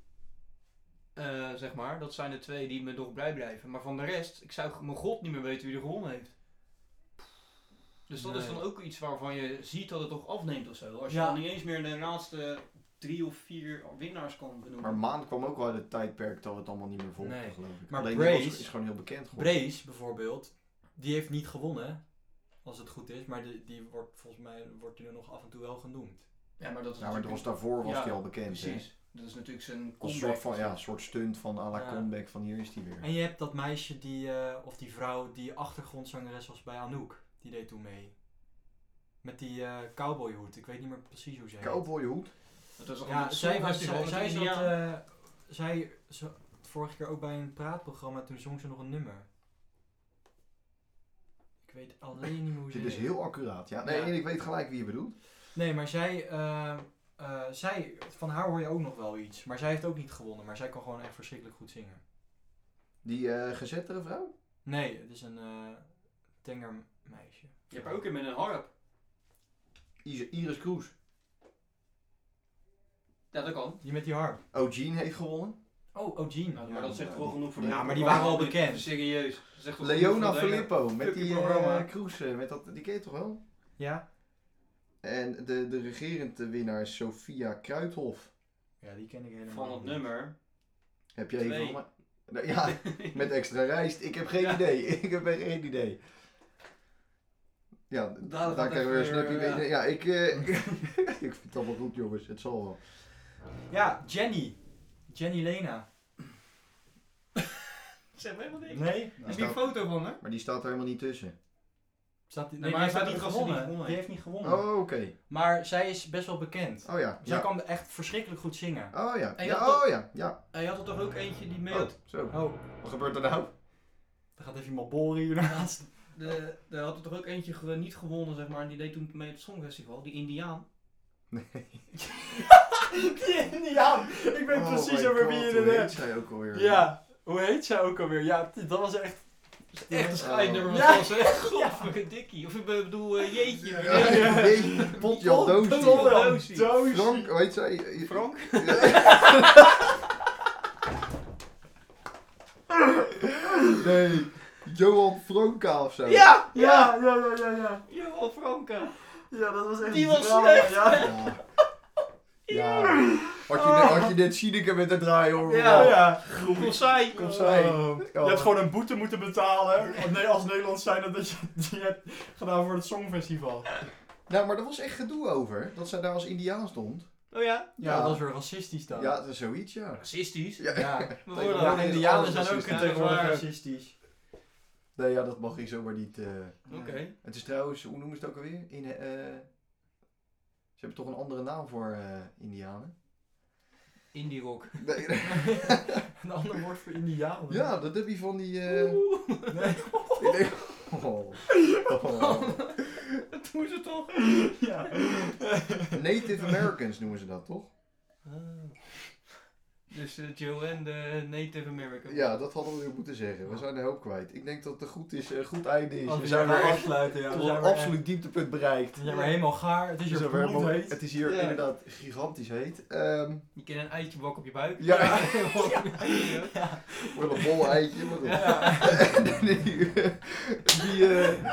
eh, zeg maar, dat zijn de twee die me nog blij blijven. Maar van de rest, ik zou mijn god niet meer weten wie er gewonnen heeft. Dus dat is
Nee.
dan ook iets waarvan je ziet dat het toch afneemt of zo. Als je
Ja.
dan niet eens meer de laatste drie of vier winnaars kan benoemen.
Maar Maan kwam ook wel uit het tijdperk dat we het allemaal niet meer volgden,
Nee.
geloof ik.
Maar
Alleen
Brace-
die was- is gewoon heel bekend geworden.
Brace bijvoorbeeld, die heeft niet gewonnen, hè, als het goed is. Maar die, die wordt volgens mij wordt die er nog af en toe wel genoemd.
ja, maar dat is
Ja, maar het was
natuurlijk-
daarvoor was
Ja,
die al bekend. hè.
Precies. Dat is natuurlijk zijn
Als een
comeback.
soort van, ja, een soort stunt van à la
Ja.
comeback van hier is die weer.
En je hebt dat meisje die, eh, of die vrouw die achtergrondzangeres was bij Anouk. Die deed toen mee. Met die eh, cowboyhoed. Ik weet niet meer precies hoe ze heet.
Cowboy hoed.
Dat is
Ja, zij, was, zij, zij zat,
ja.
eh, zij zat vorige keer ook bij een praatprogramma, toen zong ze nog een nummer. Ik weet alleen niet meer hoe ze
Dit is
heet.
heel accuraat, ja. Nee,
Ja.
ik weet gelijk wie je bedoelt.
Nee, maar zij, eh, eh, zij, van haar hoor je ook nog wel iets. Maar zij heeft ook niet gewonnen, maar zij kan gewoon echt verschrikkelijk goed zingen.
Die eh gezettere vrouw?
Nee, het is een eh tenger meisje.
Je hebt ook in met een harp.
Is- Iris Kroes.
Ja, dat kan.
Die met die harp.
Oh, Jean heeft gewonnen.
Oh, oh Jean.
Nou,
Ja.
maar dat zegt wel genoeg voor
Ja,
dit
maar die
programma.
waren al bekend.
Serieus. Dat zegt wel genoeg
Leona
voor het hele-
Filippo met
fucking
die
programma.
eh Kroes. eh, met dat, die ken je toch wel?
Ja?
En de, de regerende winnaar is Sophia Kruithof.
Ja, die ken ik helemaal
Van het
niet.
nummer.
Heb jij
Twee.
even... van mij- Nou, Ja, met extra rijst. Ik heb geen
Ja.
idee. Ik heb echt geen idee. Ja, daar,
gaat het
krijgen we een
even
snapje
weer,
mee. Ja, ik, eh, ik vind het allemaal goed, jongens. Het zal wel.
Ja, Jenny. Jenny Lena.
Zeg maar helemaal niks.
Nou,
Nee?
Heb je een
staat-
foto van haar?
maar die staat er helemaal niet tussen.
Staat die,
Nee,
nee,
maar
maar
hij
heeft
staat
niet
er als ze niet
gewonnen.
gewonnen
Die heeft niet gewonnen.
Oh, oké.
Maar zij is best wel bekend.
Oh ja.
Zij
ja.
kan echt verschrikkelijk goed zingen.
Oh ja.
En je
ja
had
oh ja. ja.
Hij had er toch ook eentje die mee
Oh,
had...
zo.
Oh,
Wat gebeurt er nou?
er gaat even iemand boren hiernaast.
De, de had er toch ook eentje ge- niet gewonnen, zeg maar. en Die deed toen mee op het Songfestival. Die Indiaan.
Die Indiaan. Ik weet
Oh
precies
my
over
God,
wie je
hoe
het
heet
hebt.
zij ook alweer.
Ja, hoe heet zij ook alweer? Ja, dat was echt...
Echt een scheidnummer
Oh.
was
Ja.
dat, zeg. Godverdikke dikkie. Of ik bedoel, eh, jeetje.
Ja,
Ja.
ja.
Nee, Potjel
Potjel
Doosje.
Doosje.
Doosie.
Frank, hoe heet zij?
Frank?
nee, Johan Franka of zo.
Ja, ja, ja, ja, ja, ja.
Johan Franke.
Ja, dat was echt
Die was
drama,
slecht.
Ja,
Ja. Ja. Had je, net- had je net Sineke met de draai hoor.
ja.
man.
ja.
Kom zij.
Kom zij.
Oh, Je
Oh.
hebt gewoon een boete moeten betalen. Of Nee, als Nederlands zijn dat dat je die hebt gedaan voor het Songfestival.
Nou, maar er was echt gedoe over. Dat zij daar als Indiaan stond.
Oh ja.
Ja, dat was
weer racistisch dan.
Ja, Oh, dat is zoiets, ja.
Racistisch.
Ja.
ja.
We
Ja,
worden
ja,
Oké.
Indianen zijn ook
tegenwoordig
racistisch.
Nee, ja, dat mag ik zomaar niet. eh. Het is trouwens, hoe noemen ze het ook alweer? In, eh, eh, ze hebben toch een andere naam voor eh, Indianen?
Indie rock.
Nee, nee.
Een ander woord voor Indianen.
Ja, dat heb je van die. eh,
Nee.
ik denk- Oh. Oh.
Dat doen ze toch?
Ja.
Native Americans noemen ze dat toch?
Dus eh, Joe en de Native American.
Ja, dat hadden we weer moeten zeggen. We zijn de hoop kwijt. Ik denk dat het goed, is, eh, goed einde is. We
Als Oh, we
zijn
maar
weer echt
afsluiten, ja.
tot
We
een
zijn weer echt-
absoluut dieptepunt bereikt.
we zijn weer helemaal gaar. Het is
Het
hier
is weer
bloed
helemaal-
heet.
Het is hier
Ja.
inderdaad gigantisch heet. Ehm
Je kan een eitje bakken op je buik.
ja,
Ja.
voor een bol eitje. maar dat-
Ja.
Nee, die, eh,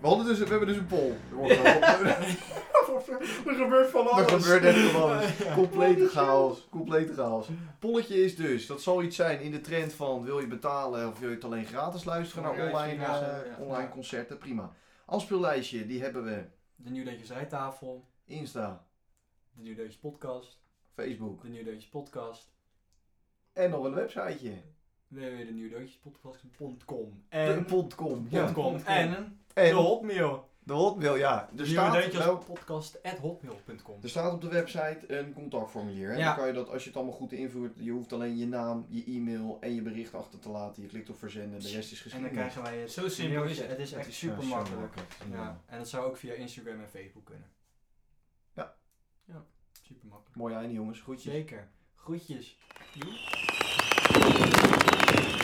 we, hadden dus, we hebben dus een poll. Er wordt wel-
Er gebeurt van
Er gebeurt echt van alles. Complete chaos. Complete chaos. Polletje is dus, dat zal iets zijn in de trend van wil je betalen of wil je het alleen gratis luisteren naar
Ja, ja,
online,
ja,
eh,
ja.
online concerten. Prima. Afspeellijstje, die hebben we.
De New Days Zijtafel.
Insta,
De New Days Podcast.
Facebook
De New Days Podcast.
en nog een websiteje.
www.denieuwdeutjespodcast.com
De
en
Pondcom. Ja.
.com en de
En
Hotmail.
de Hotmail, ja. Er
Nieuwe
staat, Dus-
Deutjes
nou,
podcast at hotmail.com.
er staat op de website een contactformulier. Hè?
Ja.
Dan kan je dat, als je het allemaal goed invoert, je hoeft alleen je naam, je e-mail en je bericht achter te laten. Je klikt op verzenden, de rest is
En dan
geschiedenis.
krijgen wij het.
Zo simpel
mailtje.
is het.
Het is
Het
echt
dus- is
super
zo
makkelijk.
Ja.
Ja. En dat zou ook via Instagram en Facebook kunnen.
Ja.
Ja.
Super makkelijk.
Mooi einde jongens, groetjes.
Zeker. Groetjes. Joe.